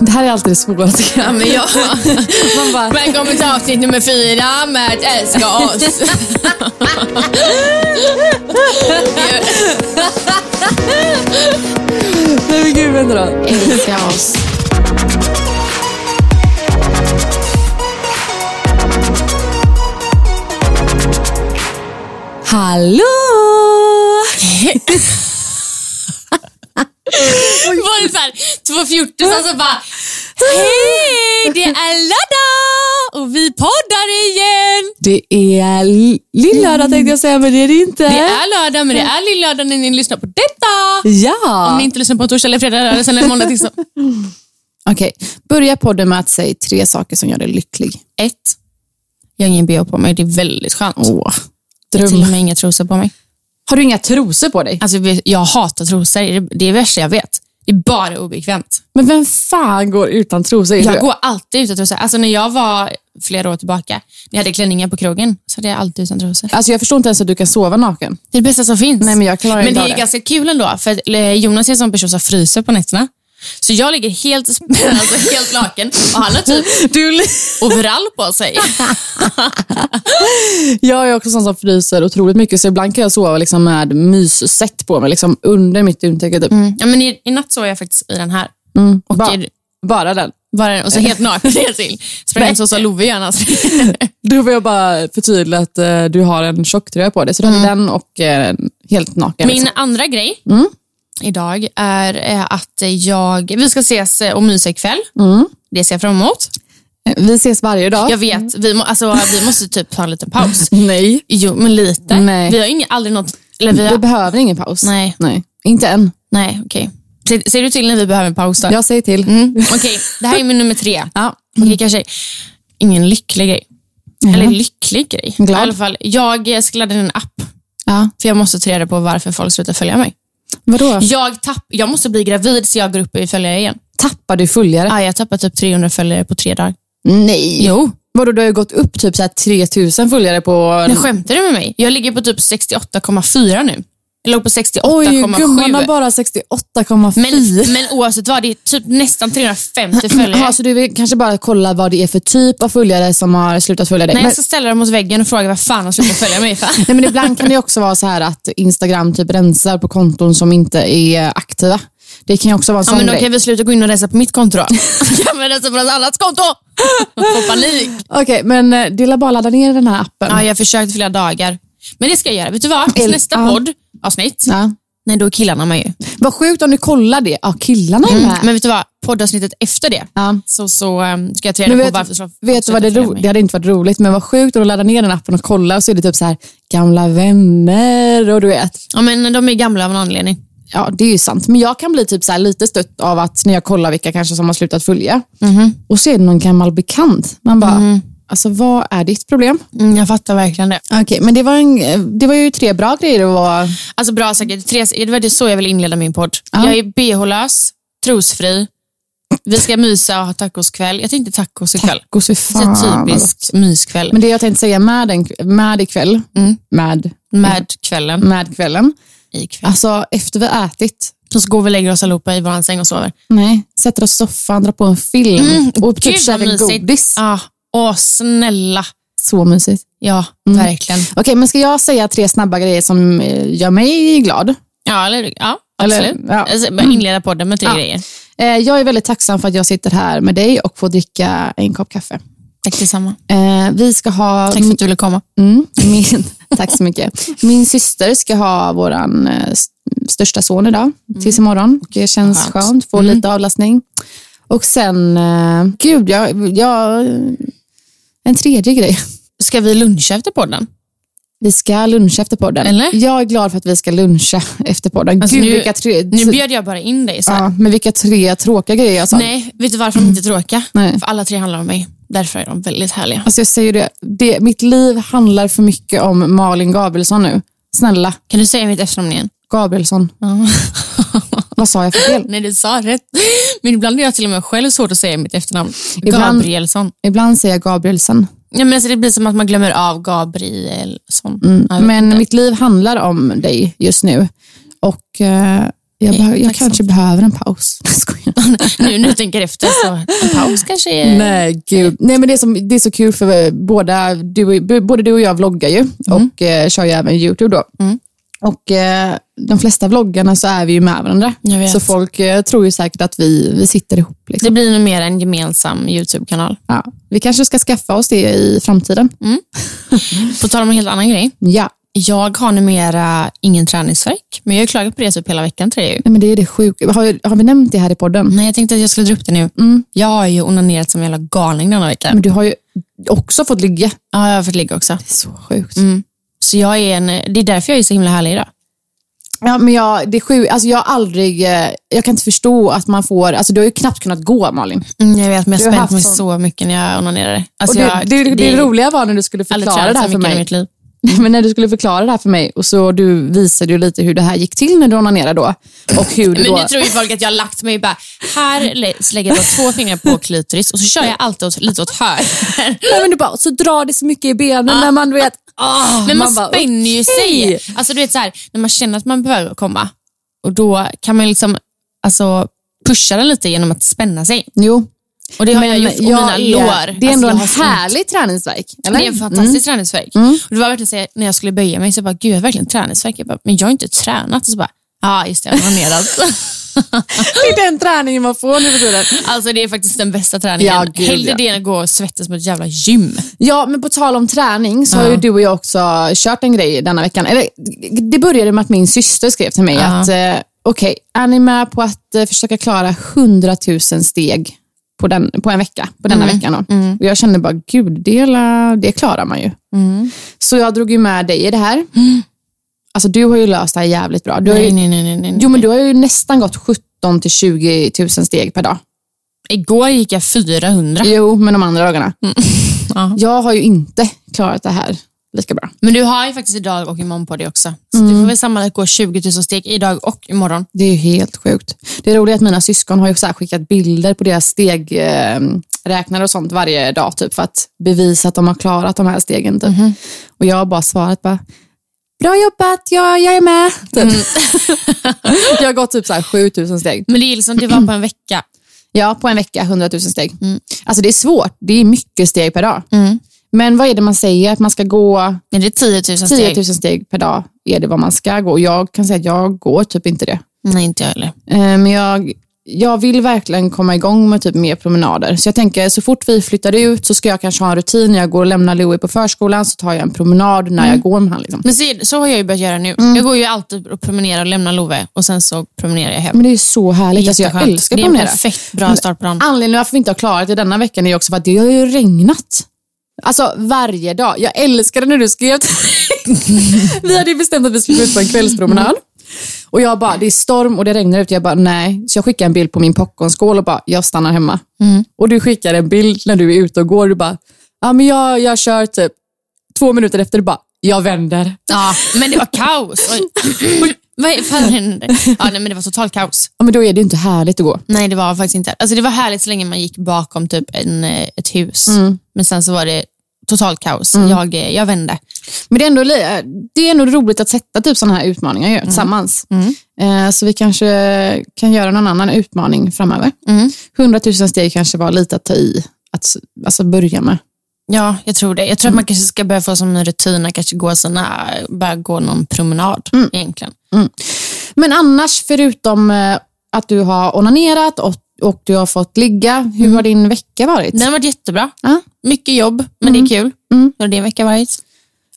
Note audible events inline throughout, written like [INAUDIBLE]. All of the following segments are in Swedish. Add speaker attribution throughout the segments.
Speaker 1: Det här är alltid det svåraste.
Speaker 2: Ja, men
Speaker 3: [LAUGHS]
Speaker 2: jag...
Speaker 1: Man bara,
Speaker 2: Välkommen till avsnitt nummer fyra med att älska oss.
Speaker 1: nej men gud vänta då.
Speaker 3: Älska oss.
Speaker 1: Hallå!
Speaker 2: [LAUGHS] Var det såhär 2.14 så bara Hej, det är lördag och vi poddar igen.
Speaker 1: Det är lillördag tänkte jag säga men det är det inte.
Speaker 2: Det är lördag men det är lillördag när ni lyssnar på detta.
Speaker 1: Ja!
Speaker 2: Om ni inte lyssnar på en torsdag eller fredag eller sen en måndag tisdag.
Speaker 3: [LAUGHS] Okej, börja podden med att säga tre saker som gör dig lycklig.
Speaker 2: Ett, jag har ingen bh på mig. Det är väldigt skönt.
Speaker 3: Åh,
Speaker 2: Jag har till och
Speaker 3: dröm.
Speaker 2: med inga trosor på mig.
Speaker 3: Har du inga trosor på dig?
Speaker 2: Alltså, jag hatar trosor. Det är det- det är det värsta jag vet. Det är bara obekvämt.
Speaker 3: Men vem fan går utan trosor?
Speaker 2: Jag går alltid utan trosor. Alltså när jag var flera år tillbaka, när jag hade klänningar på krogen, så hade jag alltid utan trosor.
Speaker 3: Alltså jag förstår inte ens att du kan sova naken.
Speaker 2: Det är det bästa som finns.
Speaker 3: Nej, men jag klarar inte
Speaker 2: det
Speaker 3: av
Speaker 2: är
Speaker 3: det.
Speaker 2: ganska kul ändå, för att, eh, Jonas är en sån person som fryser på nätterna. Så jag ligger helt, [LAUGHS] alltså helt naken och han har typ
Speaker 3: Du...
Speaker 2: overall på sig.
Speaker 3: [LAUGHS] Jag är också sån som fryser otroligt mycket så ibland kan jag sova liksom med myssätt på mig liksom under mitt duntäcke. Typ.
Speaker 2: Ja, men i, I natt sov jag faktiskt i den här.
Speaker 3: Och ba-
Speaker 2: i-
Speaker 3: bara den.
Speaker 2: Bara, och så helt naken ner till. Sprang hem så sa Love
Speaker 3: [LAUGHS]
Speaker 2: gör annars.
Speaker 3: Då vill jag bara förtydliga att eh, du har en tjocktröja på dig. Så du hade den och eh, helt naken.
Speaker 2: Min
Speaker 3: liksom.
Speaker 2: andra grej idag är eh, att jag, vi ska ses eh, och mysa ikväll.
Speaker 3: Mm.
Speaker 2: Det ser jag fram emot.
Speaker 3: liksom. Vi ses varje dag.
Speaker 2: Jag vet, vi, må, alltså, vi måste typ ta en
Speaker 3: [LAUGHS]
Speaker 2: liten paus.
Speaker 3: Nej.
Speaker 2: Jo, men lite.
Speaker 3: Nej.
Speaker 2: Vi har ingen, aldrig något... Eller vi
Speaker 3: Vi
Speaker 2: har,
Speaker 3: behöver ingen paus.
Speaker 2: Nej.
Speaker 3: Nej. Inte än.
Speaker 2: nej, okej. Ser, ser du till när vi behöver en paus då?
Speaker 3: Jag säger till.
Speaker 2: Mm, [LAUGHS] okej, det här är min nummer tre.
Speaker 3: Ja. Mm.
Speaker 2: Okej, kanske ingen lycklig grej. Eller lycklig grej.
Speaker 3: Glad.
Speaker 2: I alla fall, jag eh, ska ladda ner en app.
Speaker 3: Ja.
Speaker 2: För jag måste ta reda på varför folk slutar följa mig.
Speaker 3: Vadå?
Speaker 2: Jag, tapp, jag måste bli gravid så jag går upp i följare igen.
Speaker 3: Tappar du följare?
Speaker 2: Ah, jag tappar typ 300 följare på tre dagar.
Speaker 3: Nej.
Speaker 2: Jo.
Speaker 3: Vadå, du har ju gått upp typ så här 3000 följare på...
Speaker 2: Men skämtar du med mig? Jag ligger på typ 68,4 nu. Jag låg på
Speaker 3: Oj, gumman har
Speaker 2: 68,7.
Speaker 3: bara 68,4.
Speaker 2: Men, men oavsett vad, det är typ
Speaker 3: [LAUGHS]
Speaker 2: nästan 350 följare.
Speaker 3: Ja, så du vill kanske bara kolla vad det är för typ av följare som har slutat följa dig.
Speaker 2: Nej, alltså-
Speaker 3: men,
Speaker 2: jag ska ställa dem mot väggen och fråga vad
Speaker 3: [LAUGHS]
Speaker 2: fan de slutar följa mig för.
Speaker 3: nej, men ibland kan det också vara så här att Instagram typ rensar på konton som inte är aktiva. Det kan ju också vara en
Speaker 2: Ja,
Speaker 3: sån
Speaker 2: men då
Speaker 3: grej.
Speaker 2: kan vi sluta gå in och rensa på
Speaker 3: [LAUGHS]
Speaker 2: mitt konto då. kan vi rensa på något annat konto? Får panik.
Speaker 3: [LAUGHS] Okej, men eh, det är bara att ladda ner den här appen.
Speaker 2: Ja, jag har försökt flera dagar. Men det ska jag göra. Vet du vad? I
Speaker 3: El-
Speaker 2: nästa
Speaker 3: ja.
Speaker 2: poddavsnitt,
Speaker 3: Ja.
Speaker 2: nej då är killarna med ju.
Speaker 3: Vad sjukt om du kollar det. Ja, killarna är med.
Speaker 2: Men vet du vad? Poddavsnittet efter det,
Speaker 3: Mm. Ja.
Speaker 2: så, så um, ska jag ta
Speaker 3: Men
Speaker 2: reda på
Speaker 3: vet,
Speaker 2: varför så-
Speaker 3: vet du vad det,
Speaker 2: slutar
Speaker 3: ro-
Speaker 2: följa
Speaker 3: det
Speaker 2: mig.
Speaker 3: hade inte varit roligt, men vad sjukt om du laddar ner den appen och kollar och så är det typ så här gamla vänner och du vet.
Speaker 2: Ja, men de är gamla av en anledning.
Speaker 3: Ja, det är ju sant. Men jag kan bli typ så här lite stött av att när jag kollar vilka kanske som har slutat följa och så är det någon gammal bekant. Man bara, alltså vad är ditt problem?
Speaker 2: Mm, jag fattar verkligen det.
Speaker 3: Okej, men det var, en, det var ju tre bra grejer att vara...
Speaker 2: Alltså bra säkert. Therese, det var det så jag ville inleda min podd. Jag är bh-lös, trosfri, vi ska mysa och ha tacoskväll. Jag tänkte tacos ikväll.
Speaker 3: Gos, fy
Speaker 2: Så
Speaker 3: fan. vad gott.
Speaker 2: typisk myskväll
Speaker 3: Men det jag tänkte säga med, den, med ikväll, med,
Speaker 2: med kvällen
Speaker 3: med kvällen,
Speaker 2: ikväll.
Speaker 3: alltså efter vi har ätit,
Speaker 2: Så går vi och lägger oss allihopa i vår säng och sover.
Speaker 3: nej, sätter oss i soffan, drar på en film och typ
Speaker 2: Mm, Gud, vad
Speaker 3: käkar
Speaker 2: mysigt.
Speaker 3: godis.
Speaker 2: Ah, åh, snälla.
Speaker 3: Så mysigt.
Speaker 2: Ja,
Speaker 3: Mm.
Speaker 2: verkligen.
Speaker 3: Okej, men ska jag säga tre snabba grejer som eh, gör mig glad?
Speaker 2: Ja, eller, ja
Speaker 3: Eller-
Speaker 2: absolut.
Speaker 3: ja.
Speaker 2: Alltså, bara inleda podden med tre
Speaker 3: Ja.
Speaker 2: grejer.
Speaker 3: Eh, Jag är väldigt tacksam för att jag sitter här med dig och får dricka en kopp kaffe.
Speaker 2: Tack detsamma.
Speaker 3: Eh, vi ska ha...
Speaker 2: Tack för att du ville komma.
Speaker 3: Mm, [LAUGHS] min, tack så mycket. Min syster ska ha våran eh, st- största son idag, tills imorgon. Det känns
Speaker 2: Mm. Skönt. Mm.
Speaker 3: skönt, få lite avlastning. Och sen, eh, gud, jag, jag... En tredje grej.
Speaker 2: Ska vi luncha efter podden?
Speaker 3: Vi ska luncha efter podden.
Speaker 2: Eller?
Speaker 3: Jag är glad för att vi ska luncha efter podden.
Speaker 2: Alltså,
Speaker 3: gud,
Speaker 2: nu-
Speaker 3: vilka tre...
Speaker 2: Nu bjöd jag bara in dig. Så här.
Speaker 3: ja, men vilka tre tråkiga grejer alltså. jag sa.
Speaker 2: Nej, vet du varför de inte är tråkiga?
Speaker 3: [CLEARS THROAT] Nej.
Speaker 2: För alla tre handlar om mig. Därför är de väldigt härliga.
Speaker 3: Alltså jag säger det, det, mitt liv handlar för mycket om Malin Gabrielsson nu. Snälla,
Speaker 2: Kan du säga mitt efternamn igen?
Speaker 3: Gabrielsson. [LAUGHS] Vad sa jag för fel?
Speaker 2: Nej, du sa rätt. [LAUGHS] Men ibland är jag till och med själv svårt att säga mitt efternamn.
Speaker 3: Ibland-
Speaker 2: Gabrielsson.
Speaker 3: Ibland säger jag Gabrielsen.
Speaker 2: Ja, men alltså det blir som att man glömmer av Gabrielsson. Ja, jag vet
Speaker 3: Mm, Men
Speaker 2: inte.
Speaker 3: mitt liv handlar om dig just nu. Och eh, jag, behö- jag
Speaker 2: tack så
Speaker 3: kanske behöver en paus. [LAUGHS] Jag skojar.
Speaker 2: [LAUGHS] nu när jag tänker efter så en paus kanske är...
Speaker 3: Nej,
Speaker 2: eh,
Speaker 3: gud. Nej, men det, är som, det är så kul för eh, båda du, och- b- både du och jag vloggar ju
Speaker 2: Mm.
Speaker 3: och eh, kör ju även YouTube då. Och eh, de flesta vloggarna så är vi ju med varandra.
Speaker 2: Jag vet.
Speaker 3: Så folk eh, tror ju säkert att vi, vi sitter ihop. Liksom.
Speaker 2: Det blir nog mer en gemensam YouTube-kanal.
Speaker 3: Ja, vi kanske ska skaffa oss det i framtiden.
Speaker 2: Mm. På tal om en helt annan grej.
Speaker 3: Ja,
Speaker 2: Jag har numera ingen träningsvärk, men jag har ju klagat på det typ hela veckan till dig. ju.
Speaker 3: Nej, men det är det sjuka. Har, har vi nämnt det här i podden?
Speaker 2: Nej, jag tänkte att jag skulle dra upp det nu.
Speaker 3: Mm.
Speaker 2: Jag har ju onanerat som en jävla galning denna vecka.
Speaker 3: Men du har ju också fått ligga.
Speaker 2: Ja, jag har fått ligga också. Mm.
Speaker 3: Det är så sjukt.
Speaker 2: Så jag är en, det är därför jag är så himla härlig idag.
Speaker 3: Ja, men jag, det är sjukt. Alltså, jag har aldrig, eh, jag kan inte förstå att man får, alltså du har ju knappt kunnat gå Malin.
Speaker 2: Mm, jag vet, men
Speaker 3: Du
Speaker 2: jag
Speaker 3: har
Speaker 2: har spänt
Speaker 3: haft
Speaker 2: mig
Speaker 3: sån-
Speaker 2: så mycket när jag onanerade.
Speaker 3: Och
Speaker 2: Alltså,
Speaker 3: det,
Speaker 2: jag,
Speaker 3: det, det,
Speaker 2: är
Speaker 3: roliga var när du skulle
Speaker 2: aldrig
Speaker 3: förklara
Speaker 2: tränat
Speaker 3: det här
Speaker 2: så
Speaker 3: för
Speaker 2: mycket i
Speaker 3: mig.
Speaker 2: mitt liv.
Speaker 3: [LAUGHS] Men när du skulle förklara det här för mig och så du visade ju lite hur det här gick till när du onanerade då. Och hur du
Speaker 2: Men
Speaker 3: då...
Speaker 2: nu tror ju folk att jag har lagt mig bara, här lä- lägger jag två fingrar på klitoris och så kör jag alltid åt, lite åt [LAUGHS] höger.
Speaker 3: Nej, men du bara, så drar det så mycket i benen när man du vet... ah,
Speaker 2: Men man,
Speaker 3: bara,
Speaker 2: spänner ju
Speaker 3: okej.
Speaker 2: sig. Alltså du vet så här, när man känner att man behöver komma och då kan man ju liksom alltså, pusha den lite genom att spänna sig.
Speaker 3: Jo.
Speaker 2: Och det har jag
Speaker 3: men
Speaker 2: gjort. Och mina
Speaker 3: är-
Speaker 2: lår.
Speaker 3: Det är ändå
Speaker 2: alltså, jag har så
Speaker 3: en
Speaker 2: ont.
Speaker 3: härlig träningsverk. Eller?
Speaker 2: Det är en fantastisk träningsvärk. Och Det var verkligen så här, när jag skulle böja mig så bara, gud jag har verkligen träningsvärk. Jag bara, men jag har inte tränat. Och så bara, ja just det, jag har [LAUGHS] onanerat.
Speaker 3: [LAUGHS] Det är den träningen man får nu för tiden.
Speaker 2: alltså det är faktiskt den bästa träningen.
Speaker 3: Ja, gud,
Speaker 2: Hellre
Speaker 3: ja.
Speaker 2: det än att gå och svettas på ett jävla gym.
Speaker 3: Ja, men på tal om träning så har ju du och jag också kört en grej denna veckan. Eller, det började med att min syster skrev till mig att eh, okej, är ni med på att eh, försöka klara 100 000 steg på, den, på en vecka, på denna veckan då? Och jag kände bara, gud, det, är la- det klarar man ju. Så jag drog ju med dig i det här. Alltså du har ju löst det här jävligt bra. Du har
Speaker 2: Nej,
Speaker 3: ju,
Speaker 2: nej, nej, nej, nej.
Speaker 3: jo, men du har ju nästan gått 17 till 20 000 steg per dag.
Speaker 2: Igår gick jag 400.
Speaker 3: Jo, men de andra dagarna.
Speaker 2: Ja.
Speaker 3: Jag har ju inte klarat det här lika bra.
Speaker 2: Men du har ju faktiskt idag och imorgon på det också. Så du får väl sammanlagt gå 20 000 steg idag och imorgon.
Speaker 3: Det är ju helt sjukt. Det är roligt att mina syskon har ju så här skickat bilder på deras stegräknare och sånt varje dag typ, för att bevisa att de har klarat de här stegen. Typ. Och jag har bara svarat bara, bra jobbat, jag, jag är med. Typ. [LAUGHS] jag har gått typ så här 7000 steg.
Speaker 2: Men det är liksom, det var på en vecka.
Speaker 3: Ja, på en vecka 100 000 steg. Alltså det är svårt, det är mycket steg per dag. Men vad är det man säger, att man ska gå
Speaker 2: Men det är 10 000 steg.
Speaker 3: 10 000 steg per dag, är det vad man ska gå. Och jag kan säga att jag går typ inte det.
Speaker 2: Nej, inte jag heller.
Speaker 3: Eh, Men jag, jag vill verkligen komma igång med typ mer promenader. Så jag tänker så fort vi flyttar ut så ska jag kanske ha en rutin. När jag går och lämnar Louis på förskolan så tar jag en promenad när
Speaker 2: Mm.
Speaker 3: jag går med honom. Liksom.
Speaker 2: Men så, så har jag ju börjat göra nu. Jag går ju alltid och promenerar och lämnar Love och sen så promenerar jag hem.
Speaker 3: Men det är ju så härligt. Alltså jag
Speaker 2: Jätteskönt.
Speaker 3: älskar
Speaker 2: Det är en
Speaker 3: promenera.
Speaker 2: perfekt bra start på dagen.
Speaker 3: Anledningen till varför vi inte har klarat det denna veckan är ju också för att det har ju regnat. Alltså varje dag. Jag älskade när du skrev till mig. Vi hade ju bestämt att vi skulle gå ut på en kvällspromenad. Och jag bara, det är storm och det regnar ute. Jag bara, nej. Så jag skickade en bild på min popcornskål och bara, jag stannar hemma. Och du skickade en bild när du är ute och går. Du bara, ja men jag, jag kör typ två minuter efter. Du bara, jag vänder.
Speaker 2: Ja, men det var kaos. Oj. Vad fan hände? Ja, nej, men det var totalt kaos.
Speaker 3: Ja men då är det ju inte härligt att gå.
Speaker 2: Nej, det var faktiskt inte. Alltså, det var härligt så länge man gick bakom typ en, eh, ett hus. Men sen så var det totalt kaos. Jag, eh, jag vände.
Speaker 3: Men det är ändå, li- det är ändå roligt att sätta typ sådana här utmaningar ju, tillsammans. Eh, så vi kanske kan göra någon annan utmaning framöver.
Speaker 2: Mm.
Speaker 3: 100 000 steg kanske var lite att ta i, att s- alltså börja med.
Speaker 2: Ja, jag tror det. Jag tror att man kanske ska börja få som en rutin att kanske gå, sina, bara gå någon promenad egentligen.
Speaker 3: Men annars, förutom eh, att du har onanerat och och du har fått ligga. Hur har din vecka varit?
Speaker 2: Den har varit jättebra.
Speaker 3: Ja.
Speaker 2: Mycket jobb, men det är kul.
Speaker 3: Mm.
Speaker 2: Hur har din vecka varit?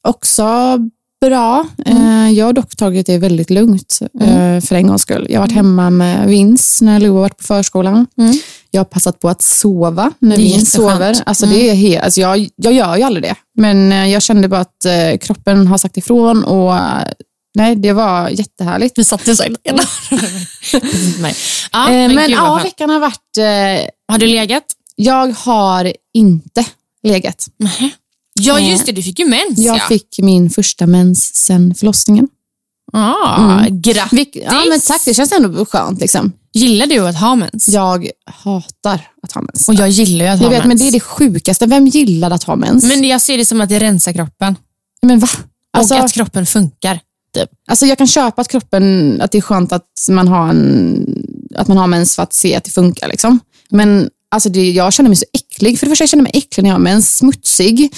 Speaker 3: Också bra.
Speaker 2: Mm.
Speaker 3: Eh, Jag har dock tagit det väldigt lugnt eh, för en gångs skull. Jag har varit hemma med Vince när Lou har varit på förskolan.
Speaker 2: Mm.
Speaker 3: Jag har passat på att sova när
Speaker 2: Det är
Speaker 3: Vince
Speaker 2: jätteskönt. Mm.
Speaker 3: sover. Alltså, det är he- alltså, jag, jag gör ju aldrig det, men eh, jag kände bara att eh, kroppen har sagt ifrån och eh, nej, det var jättehärligt.
Speaker 2: Vi satt ju [LAUGHS] så hela Nej. ja,
Speaker 3: Eh,
Speaker 2: men
Speaker 3: men
Speaker 2: gud,
Speaker 3: ja,
Speaker 2: vad skönt.
Speaker 3: veckan har varit... eh,
Speaker 2: Har du legat?
Speaker 3: Jag har inte legat.
Speaker 2: Ja, just det. Du fick ju mens.
Speaker 3: Jag
Speaker 2: ja.
Speaker 3: fick min första mens sen förlossningen.
Speaker 2: Ah, Grattis.
Speaker 3: Mm. Vilk- ja, men tack, det känns ändå skönt. Liksom.
Speaker 2: Gillar du att ha mens?
Speaker 3: Jag hatar att ha mens.
Speaker 2: Och jag gillar ju att
Speaker 3: jag
Speaker 2: ha
Speaker 3: vet,
Speaker 2: mens.
Speaker 3: men det är det sjukaste. Vem gillar att ha mens?
Speaker 2: Men jag ser det som att det rensar kroppen.
Speaker 3: men va? Alltså,
Speaker 2: och att kroppen funkar. Typ.
Speaker 3: alltså, jag kan köpa att kroppen, att det är skönt att man har, en, att man har mens för att se att det funkar. Liksom. Men alltså, det, jag känner mig så äcklig. För det första, jag känner mig äcklig när jag har mens. Smutsig.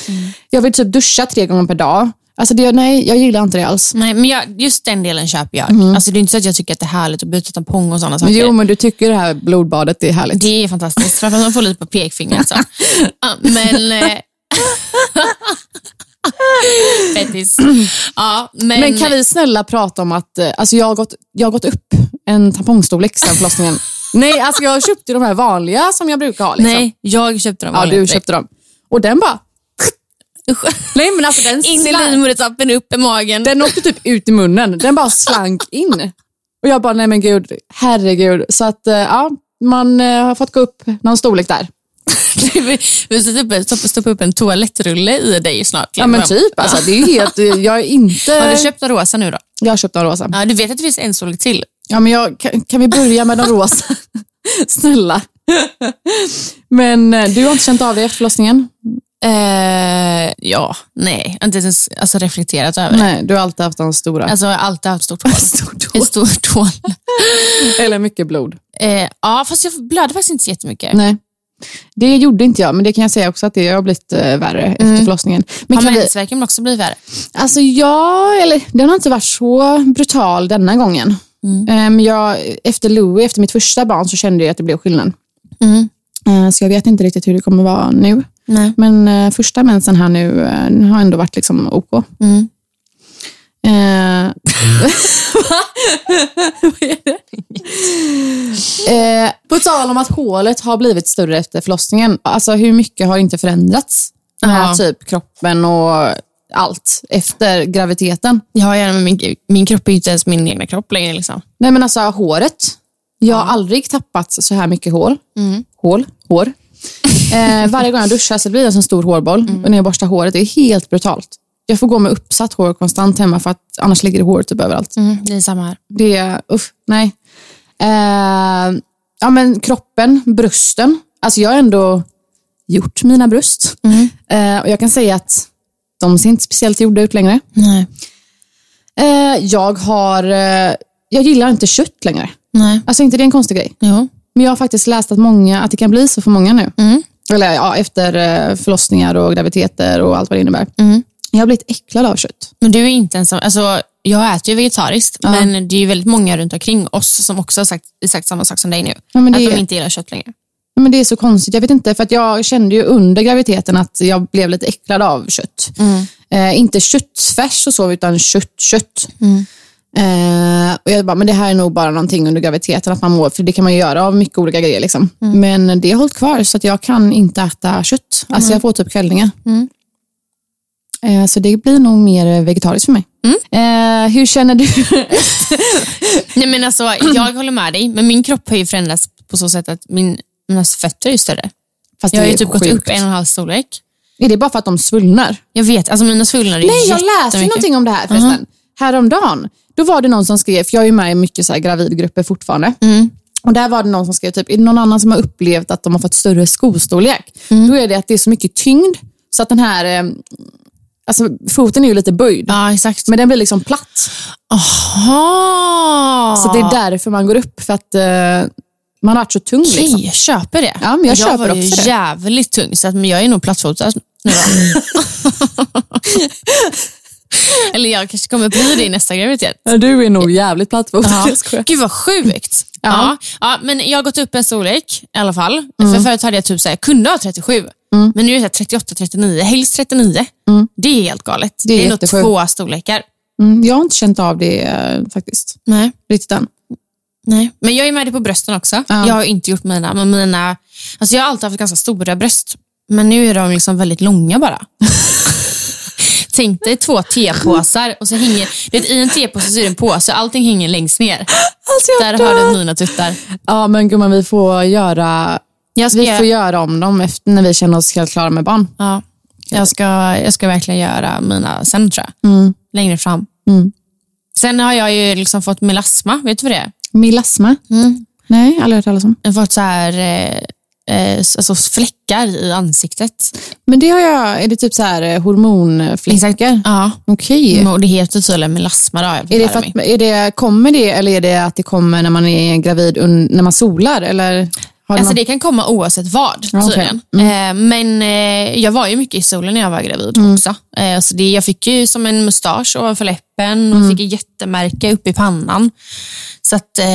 Speaker 3: Jag vill typ duscha tre gånger per dag. Alltså, det, nej, jag gillar inte det alls.
Speaker 2: Nej, men jag, just den delen köper jag. Alltså, det är inte så att jag tycker att det är härligt att byta tampong och sådana saker.
Speaker 3: Jo, men du tycker det här blodbadet är härligt.
Speaker 2: Det är fantastiskt. Framförallt man får lite på
Speaker 3: [LAUGHS]
Speaker 2: pekfingret. Så. Ja, men... eh, [LAUGHS] Fettis. Ja, men,
Speaker 3: Men kan vi snälla prata om att eh, alltså jag, har gått, jag har gått upp en tampongstorlek sen
Speaker 2: [LAUGHS]
Speaker 3: förlossningen. Nej, alltså jag köpte de här vanliga som jag brukar ha. Liksom.
Speaker 2: Nej, jag köpte dem.
Speaker 3: ja,
Speaker 2: vanliga
Speaker 3: du
Speaker 2: direkt.
Speaker 3: köpte dem. Och den bara...
Speaker 2: [LAUGHS] Usch.
Speaker 3: Nej, men alltså den,
Speaker 2: In i
Speaker 3: slank,
Speaker 2: livmodertappen, upp i magen.
Speaker 3: den åkte typ ut i munnen. Den bara slank in. Och jag bara, nej men gud, herregud. Så att eh, ja, man eh, har fått gå upp någon storlek där.
Speaker 2: vi [LAUGHS] vi ska typ stoppa- stoppa upp en toalettrulle i dig snart.
Speaker 3: Ja men
Speaker 2: liksom.
Speaker 3: typ, alltså, det är ju helt... eh, Jag är
Speaker 2: [LAUGHS] Har
Speaker 3: inte...
Speaker 2: du köpt en rosa nu då?
Speaker 3: Jag har köpt en rosa.
Speaker 2: Ja, du vet att det finns en storlek till.
Speaker 3: Ja, men jag, kan, kan vi börja med de rosa? [LAUGHS] Snälla. Men eh, du har inte känt av det efter förlossningen?
Speaker 2: Eh, ja, nej. Inte ens alltså, reflekterat över.
Speaker 3: Nej, du har alltid haft de stora.
Speaker 2: Alltså, jag har alltid haft stort hål. [LAUGHS] Ett stort hål.
Speaker 3: Alltså, Eller mycket blod.
Speaker 2: Eh, ja, fast jag blödde faktiskt inte så jättemycket.
Speaker 3: Nej. Det gjorde inte jag, men det kan jag säga också att det har blivit eh, värre efter förlossningen. Men
Speaker 2: Har
Speaker 3: kan vi,
Speaker 2: mensvärken också blivit värre?
Speaker 3: alltså jag, eller den har inte varit så brutal denna gången. Eh, Men jag, efter Louie, efter mitt första barn, så kände jag att det blev skillnad.
Speaker 2: Mm.
Speaker 3: Eh, Så jag vet inte riktigt hur det kommer vara nu.
Speaker 2: Nej.
Speaker 3: Men eh, första mensen här nu eh, den har ändå varit liksom OK.
Speaker 2: Mm.
Speaker 3: Eh, [LAUGHS] eh, på tal om att hålet har blivit större efter förlossningen. Alltså hur mycket har inte förändrats? Med
Speaker 2: Ja.
Speaker 3: typ kroppen och allt efter graviditeten.
Speaker 2: Ja, ja, men min, min kropp är ju inte ens min egna kropp längre. Liksom.
Speaker 3: Nej men alltså håret. Jag har aldrig tappat så här mycket hår. Hål, hår. Eh, varje gång jag duschar så blir det en sån stor hårboll. Och när jag borstar håret, det är helt brutalt. Jag får gå med uppsatt hår konstant hemma för att annars ligger det hår typ överallt.
Speaker 2: Mm, Det är samma här.
Speaker 3: Det är, uff, nej. Eh, ja men kroppen, brösten. Alltså jag har ändå gjort mina bröst. Eh, och jag kan säga att de ser inte speciellt gjorda ut längre.
Speaker 2: Nej.
Speaker 3: Eh, jag har, eh, jag gillar inte kött längre.
Speaker 2: Nej.
Speaker 3: Alltså inte det är en konstig grej.
Speaker 2: Jo.
Speaker 3: Men jag har faktiskt läst att, många, att det kan bli så för många nu. Eller ja, efter eh, förlossningar och graviditeter och allt vad det innebär. Jag har blivit äcklad av kött.
Speaker 2: Men du är inte ensam. Alltså, jag äter ju vegetariskt, men det är ju väldigt många runt omkring oss som också har sagt exakt samma sak som dig nu.
Speaker 3: Ja, men det
Speaker 2: Att de
Speaker 3: är-
Speaker 2: inte gillar kött längre.
Speaker 3: Men det är så konstigt. Jag vet inte, för att jag kände ju under graviditeten att jag blev lite äcklad av kött. Eh, inte köttfärs och så, utan kött, kött. Eh, och jag bara, men det här är nog bara någonting under graviditeten, att man mår, för det kan man ju göra av mycket olika grejer. Liksom. Men det har hållit kvar, så att jag kan inte äta kött. Alltså jag får typ kvällningar. Eh, så det blir nog mer vegetariskt för mig. Eh, hur känner du?
Speaker 2: Nej, men alltså, jag håller med dig, men min kropp har ju förändrats på så sätt att min, mina fötter är ju större.
Speaker 3: Fast
Speaker 2: Jag har
Speaker 3: det
Speaker 2: ju
Speaker 3: är
Speaker 2: typ gått
Speaker 3: sjukt.
Speaker 2: upp en och en halv storlek.
Speaker 3: Är det bara för att de svullnar?
Speaker 2: Jag vet, alltså mina svullnader är
Speaker 3: Nej, jag läste
Speaker 2: jättemycket.
Speaker 3: någonting om det här förresten. Häromdagen, då var det någon som skrev, för jag är ju med i mycket så här gravidgrupper fortfarande. Och där var det någon som skrev, typ, är det någon annan som har upplevt att de har fått större skostorlek? Då är det att det är så mycket tyngd, så att den här, eh, alltså foten är ju lite böjd.
Speaker 2: Ja, exakt.
Speaker 3: Men den blir liksom platt.
Speaker 2: Aha.
Speaker 3: Så det är därför man går upp, för att eh, man har varit så tung.
Speaker 2: Okej,
Speaker 3: Liksom.
Speaker 2: jag köper det.
Speaker 3: Ja, men jag köper
Speaker 2: var ju
Speaker 3: också det. [LAUGHS]
Speaker 2: jävligt tung, så att, men jag är nog plattfotad nu. då. Eller jag kanske kommer bli det i nästa graviditet.
Speaker 3: Ja, Du är nog jävligt plattfotad.
Speaker 2: Ja.
Speaker 3: Jag skojar.
Speaker 2: Gud vad sjukt. Ja. Ja. men jag har gått upp en storlek i alla fall. För
Speaker 3: Mm.
Speaker 2: förut hade jag typ så här, kunde ha 37, men nu är det 38-39, helst 39. Det är helt galet.
Speaker 3: Mm. Det är
Speaker 2: det är nog
Speaker 3: jättesjukt.
Speaker 2: två storlekar.
Speaker 3: Mm, jag har inte känt av det eh, faktiskt.
Speaker 2: Nej.
Speaker 3: Riktigt än.
Speaker 2: Nej, men jag är med dig på brösten också.
Speaker 3: Ja.
Speaker 2: Jag har inte gjort mina, men mina... Alltså jag har alltid haft ganska stora bröst, men nu är de liksom väldigt långa [LAUGHS] bara. Tänk dig två tepåsar och så hänger... Du vet, I en tepåse så är det en påse, allting hänger längst ner. Där har du mina tuttar.
Speaker 3: Ja, men gumman, vi får göra
Speaker 2: Jag ska,
Speaker 3: vi får göra om dem efter, när vi känner oss helt klara med barn.
Speaker 2: ja, jag, ska, jag ska verkligen göra mina sen tror jag. Längre fram. Sen har jag ju liksom fått melasma, vet du vad det är?
Speaker 3: Milasma? Nej, aldrig hört talas om.
Speaker 2: Jag har fått så här, eh, eh, alltså fläckar i ansiktet.
Speaker 3: Men det har jag, är det typ så här eh, hormonfläckar?
Speaker 2: Ja.
Speaker 3: Okej.
Speaker 2: Mm, Och det heter tydligen melasma. Då, jag fick
Speaker 3: Är det
Speaker 2: lära
Speaker 3: för
Speaker 2: mig.
Speaker 3: att, är det, kommer det eller är det att det kommer när man är gravid, un, när man solar? Eller har
Speaker 2: Alltså
Speaker 3: någon-
Speaker 2: det kan komma oavsett vad
Speaker 3: Ja, okej. Mm.
Speaker 2: tydligen. Eh, men eh, jag var ju mycket i solen när jag var gravid
Speaker 3: Mm.
Speaker 2: också. Eh, så det, jag fick ju som en mustasch ovanför läppen
Speaker 3: Mm.
Speaker 2: och fick ett jättemärke upp i pannan. Så att, eh,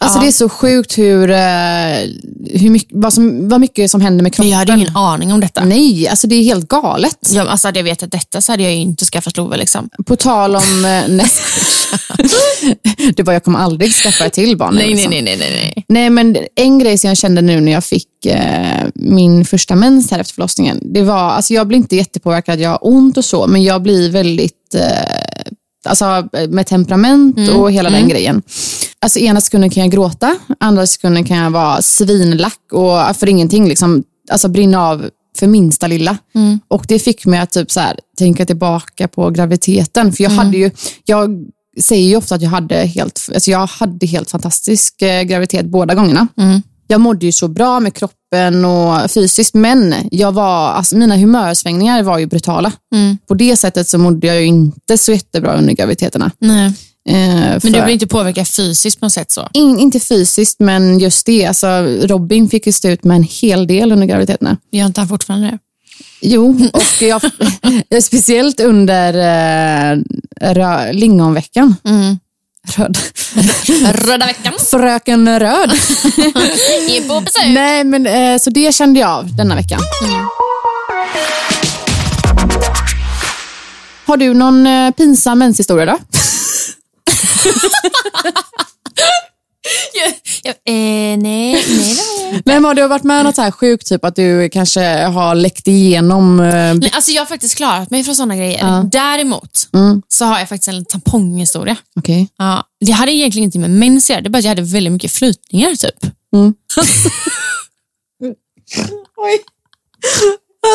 Speaker 3: alltså
Speaker 2: ja.
Speaker 3: det är så sjukt hur, eh, hur mycket, vad, som, vad mycket som händer med
Speaker 2: Men
Speaker 3: kroppen.
Speaker 2: jag hade ingen aning om detta.
Speaker 3: Nej, alltså det är helt galet.
Speaker 2: Jag, alltså hade jag vetat detta så hade jag ju inte skaffat Love. Liksom.
Speaker 3: På tal om... eh, Nej.
Speaker 2: [LAUGHS]
Speaker 3: det var, jag kommer aldrig skaffa ett till barn. liksom.
Speaker 2: nej, nej, nej.
Speaker 3: Nej, men en grej som jag kände nu när jag fick eh, min första mens här efter förlossningen. Det var, alltså jag blir inte jättepåverkad, jag har ont och så, men jag blir väldigt, eh, alltså med temperament och hela den grejen. Alltså ena sekunden kan jag gråta, andra sekunden kan jag vara svinlack och för ingenting liksom, alltså brinna av för minsta lilla. Och det fick mig att typ så här, tänka tillbaka på graviditeten, för jag hade ju, jag säger ju ofta att jag hade helt, alltså jag hade helt fantastisk eh, graviditet båda gångerna.
Speaker 2: Mm.
Speaker 3: Jag mådde ju så bra med kroppen och fysiskt, men jag var, alltså mina humörsvängningar var ju brutala.
Speaker 2: Mm.
Speaker 3: På det sättet så mådde jag ju inte så jättebra under graviditeterna.
Speaker 2: nej.
Speaker 3: Eh,
Speaker 2: Men du
Speaker 3: för-
Speaker 2: blir inte påverkad fysiskt på något sätt så?
Speaker 3: in, inte fysiskt, men just det. Alltså, Robin fick ju stå ut med en hel del under graviditeterna.
Speaker 2: Jag har inte han fortfarande det?
Speaker 3: Jo, och
Speaker 2: [LAUGHS]
Speaker 3: jag, speciellt under eh, rö, lingonveckan.
Speaker 2: Mm.
Speaker 3: Röd. Mm. [LAUGHS]
Speaker 2: Röda veckan
Speaker 3: Fröken Röd.
Speaker 2: är på besök.
Speaker 3: Nej, men eh, så det kände jag av denna veckan. Har du någon eh, pinsam menshistoria [LAUGHS] då?
Speaker 2: Jag, eh, nej, nej, det har jag
Speaker 3: Nej, men har du varit med om något så här sjukt, typ att du kanske har läckt igenom? Eh,
Speaker 2: Nej, alltså jag har faktiskt klarat mig från sådana grejer. Däremot så har jag faktiskt en tamponghistoria.
Speaker 3: Okej.
Speaker 2: Ja, det hade egentligen inte med mens att göra, det är bara att jag hade väldigt mycket flytningar typ.
Speaker 3: Oj.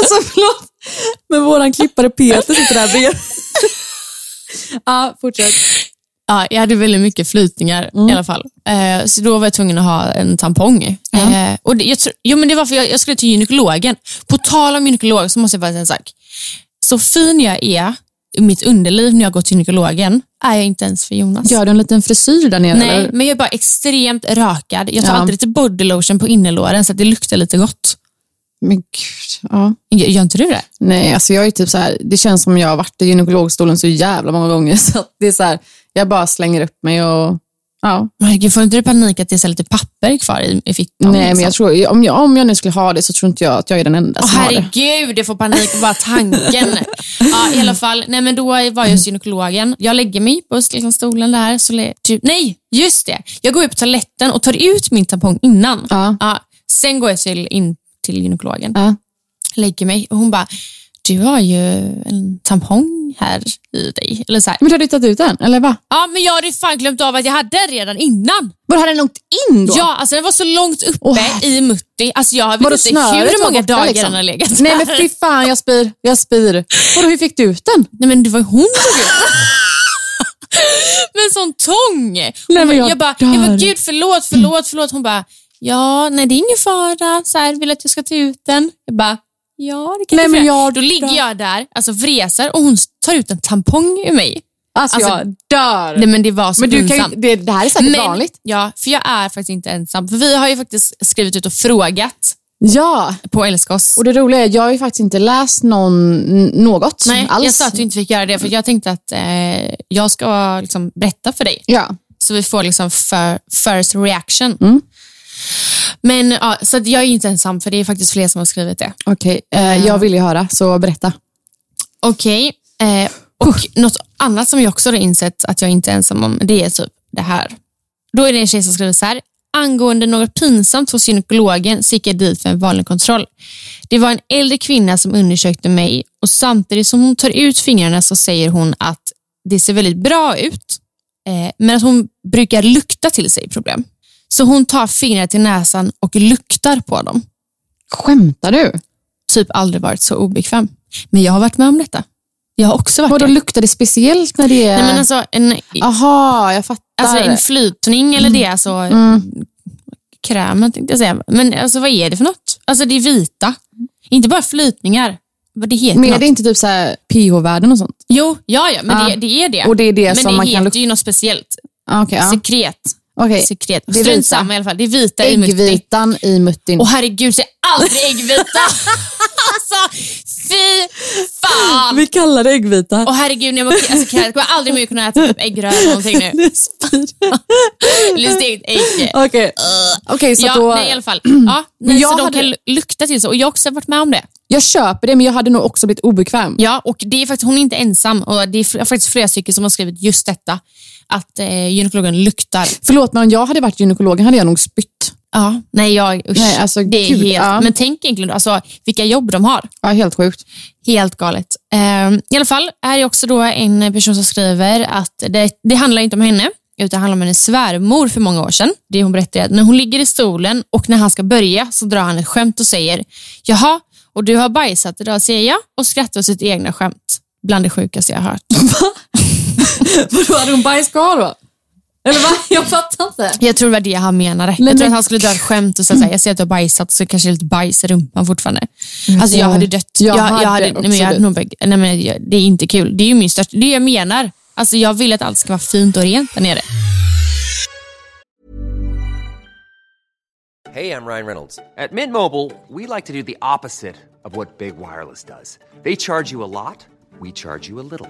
Speaker 3: Alltså förlåt. Men våran klippare Peter sitter där [LAUGHS] bredvid. Ja, fortsätt.
Speaker 2: Ja, jag hade väldigt mycket flytningar i alla fall. Eh, så då var jag tvungen att ha en tampong. Eh, och det, jag, tror- jo, men det var för jag, jag skulle till gynekologen. På tal om gynekolog så måste jag bara säga en sak. Så fin jag är i mitt underliv när jag går till gynekologen är jag inte ens för Jonas.
Speaker 3: Gör du en liten frisyr där nere?
Speaker 2: Nej,
Speaker 3: eller?
Speaker 2: men jag är bara extremt rakad. Jag tar
Speaker 3: Ja.
Speaker 2: alltid lite bodylotion på innerlåren så att det luktar lite gott.
Speaker 3: Men gud. Ja.
Speaker 2: Gör, gör inte du det?
Speaker 3: Nej, alltså jag är typ så här, det känns som jag har varit i gynekologstolen så jävla många gånger. [LAUGHS] Så att det är så här, jag bara slänger upp mig och ja.
Speaker 2: Men gud, får inte du panik att det är så här lite papper kvar i, i fickan?
Speaker 3: Nej,
Speaker 2: liksom?
Speaker 3: men jag tror, om jag, om jag nu skulle ha det så tror inte jag att jag är den enda
Speaker 2: Åh,
Speaker 3: som har det.
Speaker 2: herregud, jag får panik av bara tanken. [LAUGHS] ja, I alla fall, nej, men då var jag hos gynekologen. Jag lägger mig på liksom, stolen där. Så lä- typ, nej, just det. Jag går upp på toaletten och tar ut min tampong innan.
Speaker 3: Ja.
Speaker 2: sen går jag till, in till gynekologen.
Speaker 3: Ja.
Speaker 2: Lägger mig och hon bara, du har ju en tampong här i dig. Eller så här.
Speaker 3: Men har du tagit ut den, eller va?
Speaker 2: Ja, men jag hade ju fan glömt av att jag hade den redan innan.
Speaker 3: Var har den åkt in då?
Speaker 2: Ja, alltså den var så långt uppe
Speaker 3: Åh, herre-
Speaker 2: i mutti. Alltså jag
Speaker 3: Vadå,
Speaker 2: vet inte
Speaker 3: snöret
Speaker 2: hur
Speaker 3: var
Speaker 2: många
Speaker 3: borta,
Speaker 2: dagar
Speaker 3: liksom?
Speaker 2: den har legat
Speaker 3: Nej
Speaker 2: där.
Speaker 3: men fy fan, jag spyr. Jag spyr. Vadå, hur fick du ut den?
Speaker 2: Nej men det var ju hon som gjorde det. Med en sån tång. Hon
Speaker 3: men
Speaker 2: bara-
Speaker 3: jag
Speaker 2: jag bara,
Speaker 3: dör.
Speaker 2: jag bara, gud förlåt, förlåt, förlåt. Hon bara, ja, nej det är ingen fara. Så här, vill att jag ska ta ut den? Jag bara, ja det kan
Speaker 3: Nej,
Speaker 2: du få
Speaker 3: men
Speaker 2: göra."
Speaker 3: jag
Speaker 2: Då ligger jag där, alltså vresar och hon tar ut en tampong ur mig.
Speaker 3: Alltså,
Speaker 2: Alltså,
Speaker 3: jag dör.
Speaker 2: Nej men det var så
Speaker 3: men du kan ju,
Speaker 2: pinsamt.
Speaker 3: det, det här är säkert
Speaker 2: Men-
Speaker 3: vanligt.
Speaker 2: Ja, för jag är faktiskt inte ensam. För vi har ju faktiskt skrivit ut och frågat
Speaker 3: Ja,
Speaker 2: på Älska oss.
Speaker 3: och det roliga är jag har ju faktiskt inte läst någon, n- något
Speaker 2: Nej,
Speaker 3: alls.
Speaker 2: jag sa att du inte fick göra det, för jag tänkte att eh, jag ska liksom berätta för dig.
Speaker 3: Ja.
Speaker 2: Så vi får liksom fir- first reaction.
Speaker 3: Mm.
Speaker 2: Men ja, så att jag är inte ensam, för det är faktiskt fler som har skrivit det.
Speaker 3: Okej, eh, jag vill ju höra, så berätta.
Speaker 2: Okej, eh, och något annat som jag också har insett att jag inte är ensam om, det är typ det här. Då är det en tjej som skriver så här. Angående något pinsamt hos gynekologen så gick jag dit för en vanlig kontroll. Det var en äldre kvinna som undersökte mig och samtidigt som hon tar ut fingrarna så säger hon att det ser väldigt bra ut, eh, men att hon brukar lukta till sig problem. Så hon tar fingrarna till näsan och luktar på dem.
Speaker 3: Skämtar du?
Speaker 2: Typ aldrig varit så obekväm. Men jag har varit med om detta. Jag har också varit
Speaker 3: Vadå,
Speaker 2: det.
Speaker 3: luktar det speciellt när det är...
Speaker 2: Nej, men alltså, en,
Speaker 3: Aha, jag fattar.
Speaker 2: alltså en flytning eller
Speaker 3: Mm.
Speaker 2: det, alltså krämen tänkte jag säga. Men alltså, vad är det för något? Alltså det är vita. Inte bara flytningar. Vad det heter
Speaker 3: men är
Speaker 2: något.
Speaker 3: det inte typ så här pH-värden och sånt?
Speaker 2: Jo, ja, ja men
Speaker 3: Ja.
Speaker 2: Det, det är det.
Speaker 3: Och det är det
Speaker 2: men
Speaker 3: som
Speaker 2: det
Speaker 3: man
Speaker 2: heter
Speaker 3: kan lukta?
Speaker 2: ju något speciellt.
Speaker 3: Ah, Okej, ja.
Speaker 2: Sekret.
Speaker 3: Okej.
Speaker 2: Sekret.
Speaker 3: är
Speaker 2: Strunt
Speaker 3: vita.
Speaker 2: samma i alla fall. Det är vita i mutti.
Speaker 3: Äggvitan i muttin. [LAUGHS]
Speaker 2: Åh herregud, säg aldrig äggvita. alltså, fy fan.
Speaker 1: Vi kallar det äggvita.
Speaker 3: [LAUGHS]
Speaker 2: Åh herregud, nej, men okej, alltså, jag kommer aldrig mer kunna äta typ äggröra eller någonting nu. Eller stekt ägg. [LAUGHS]
Speaker 1: Okej.
Speaker 3: Okej, så
Speaker 2: Uh. ja,
Speaker 3: att då...
Speaker 2: nej, i
Speaker 3: [CLEARS THROAT]
Speaker 2: alla fall. Ja, nej,
Speaker 3: jag
Speaker 2: så de
Speaker 3: hade-
Speaker 2: kan lukta till sig. Och jag har också varit med om det.
Speaker 3: Jag köper det, men jag hade nog också blivit obekväm.
Speaker 2: Ja, och det är faktiskt, hon är inte ensam. Och det är fl- faktiskt flera stycken som har skrivit just detta. Att eh, gynekologen luktar.
Speaker 3: Förlåt, men om jag hade varit gynekologen hade jag nog spytt.
Speaker 2: Ja, nej, jag, usch,
Speaker 3: Nej, alltså,
Speaker 2: det är
Speaker 3: gud,
Speaker 2: helt...
Speaker 3: ja.
Speaker 2: Men tänk egentligen alltså, vilka jobb de har.
Speaker 3: Ja, helt sjukt.
Speaker 2: Helt galet. Ehm, I alla fall här är också då en person som skriver att det, det handlar inte om henne, utan det handlar om hennes svärmor för många år sedan. Det hon berättade är att när hon ligger i stolen och när han ska börja så drar han ett skämt och säger Jaha, och du har bajsat idag, säger jag och skrattar åt sitt egna skämt. Bland det sjukaste jag
Speaker 3: [LAUGHS]
Speaker 2: har hört.
Speaker 3: Vadå, hade hon bajs kvar då? Eller va? [LAUGHS] Jag fattar inte.
Speaker 2: Jag tror det var det han menade. jag tror att han skulle dra ett skämt och säga så här, jag ser att du har bajsat så kanske det är lite bajs i rumpan fortfarande.
Speaker 3: Mm.
Speaker 2: Alltså jag hade dött.
Speaker 3: Jag
Speaker 2: jag
Speaker 3: hade
Speaker 2: nej, men
Speaker 3: också
Speaker 2: jag hade
Speaker 3: dött.
Speaker 2: nog, börjat- nej, men jag, det är inte kul. Det är ju min största, det är jag menar. Alltså jag vill att allt ska vara fint och rent där nere.
Speaker 4: Hey, I'm Ryan Reynolds. At Mint Mobile, we like to do the opposite of what Big Wireless does. They charge you a lot, we charge you a little.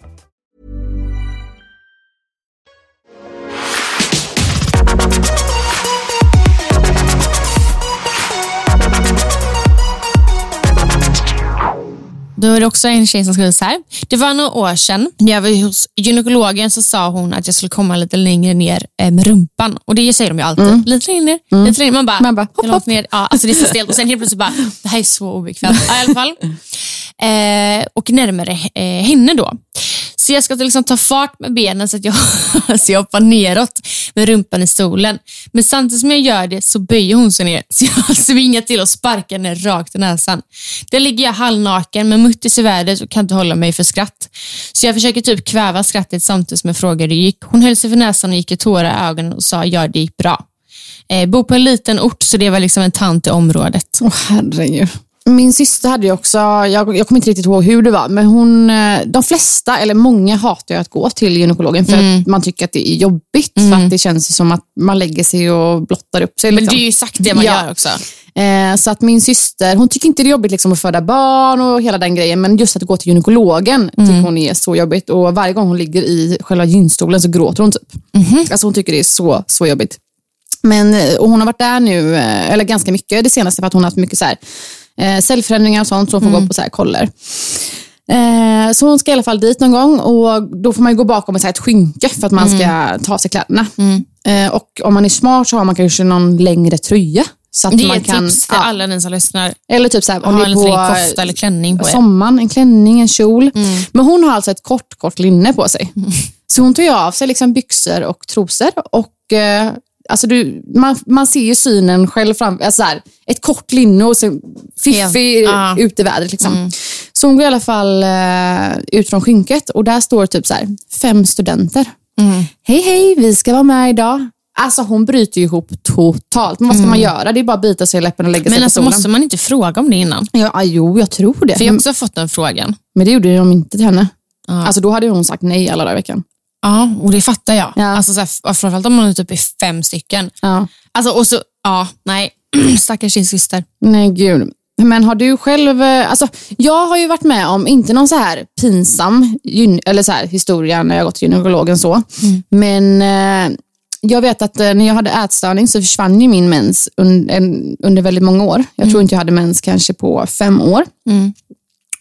Speaker 2: Då är det också en tjej som skriver så här. Det var några år sedan när jag var hos gynekologen så sa hon att jag skulle komma lite längre ner eh, med rumpan. Och det säger de ju alltid. Lite längre ner, lite längre. Mm. Man bara,
Speaker 3: Man bara, hopp,
Speaker 2: hur långt
Speaker 3: hopp.
Speaker 2: ner? Ja, alltså det är så stelt. Och sen helt plötsligt bara, det här är så obekvämt. Ja, i alla [LAUGHS] fall. Eh, och närmare eh, henne då. Så jag ska liksom ta fart med benen så att jag, så jag [LAUGHS] hoppar neråt med rumpan i stolen. Men samtidigt som jag gör det så böjer hon sig ner [LAUGHS] så jag svingar till och sparkar henne rakt i näsan. Där ligger jag halvnaken med muttis i vädret och kan inte hålla mig för skratt. Så jag försöker typ kväva skrattet samtidigt som jag frågar hur det gick. Hon höll sig för näsan och gick i tårar i ögonen och sa ja, det gick bra. Eh, bor på en liten ort så det var liksom en tant i området.
Speaker 3: Åh herregud. Min syster hade ju också, jag, jag kommer inte riktigt ihåg hur det var, men hon, eh, de flesta, eller många hatar ju att gå till gynekologen för
Speaker 2: Mm.
Speaker 3: att man tycker att det är jobbigt. För att det känns ju som att man lägger sig och blottar upp sig.
Speaker 2: Men det
Speaker 3: liksom.
Speaker 2: är ju exakt det man
Speaker 3: Ja.
Speaker 2: gör också.
Speaker 3: Eh, Så att min syster, hon tycker inte det är jobbigt liksom att föda barn och hela den grejen, men just att gå till gynekologen
Speaker 2: Mm.
Speaker 3: tycker hon är så jobbigt. Och varje gång hon ligger i själva gynstolen så gråter hon typ. Alltså hon tycker det är så, så jobbigt. Men, eh, och hon har varit där nu, eh, eller
Speaker 2: Mm.
Speaker 3: ganska mycket det senaste för att hon har haft mycket så här, eh, cellförändringar och sånt, så hon får gå på så här koller. Eh, så hon ska i alla fall dit någon gång och då får man ju gå bakom ett, så här, ett skynke för att man
Speaker 2: Mm.
Speaker 3: ska ta av sig kläderna. Eh, och om man är smart så har man kanske någon längre tröja. Så att
Speaker 2: Det är
Speaker 3: man
Speaker 2: ett
Speaker 3: kan,
Speaker 2: tips till
Speaker 3: ja.
Speaker 2: alla ni som lyssnar.
Speaker 3: Eller typ så här, om
Speaker 2: Ha
Speaker 3: det
Speaker 2: en liten
Speaker 3: är på
Speaker 2: kofta eller klänning på er.
Speaker 3: sommaren, en klänning, en kjol.
Speaker 2: Mm.
Speaker 3: Men hon har alltså ett kort, kort linne på
Speaker 2: [LAUGHS]
Speaker 3: sig. Så hon tar ju av sig liksom byxor och trosor. Och, eh, alltså du, man, man ser ju synen själv framför alltså så här, Ett kort linne och så fiffig
Speaker 2: Ja. Ah. Mm.
Speaker 3: ut i vädret. Liksom. Så hon går i alla fall eh, ut från skynket och där står typ så här, fem studenter.
Speaker 2: Mm.
Speaker 3: Hej, hej, vi ska vara med idag. Alltså hon bryter ju ihop totalt. Men vad ska man göra? Det är bara att bita sig i läppen och lägga sig
Speaker 2: Mm. Men
Speaker 3: på
Speaker 2: alltså
Speaker 3: stolen.
Speaker 2: måste man inte fråga om det innan?
Speaker 3: Ja, jo, jag tror det.
Speaker 2: För jag har också fått den frågan.
Speaker 3: Men det gjorde de inte till henne. Alltså då hade hon sagt nej alla dagar i veckan.
Speaker 2: Ja, och det fattar jag.
Speaker 3: Ja.
Speaker 2: Alltså, så här, framförallt om man typ är fem stycken.
Speaker 3: Ja.
Speaker 2: Alltså, och så, ja, nej. [CLEARS THROAT] Stackars din syster.
Speaker 3: Nej, gud. Men har du själv, eh, alltså jag har ju varit med om, inte någon så här pinsam gyn, eller så här, historia när jag gått till gynekologen så, men eh, jag vet att eh, när jag hade ätstörning så försvann ju min mens un, en, under väldigt många år. Jag tror inte jag hade mens kanske på fem år.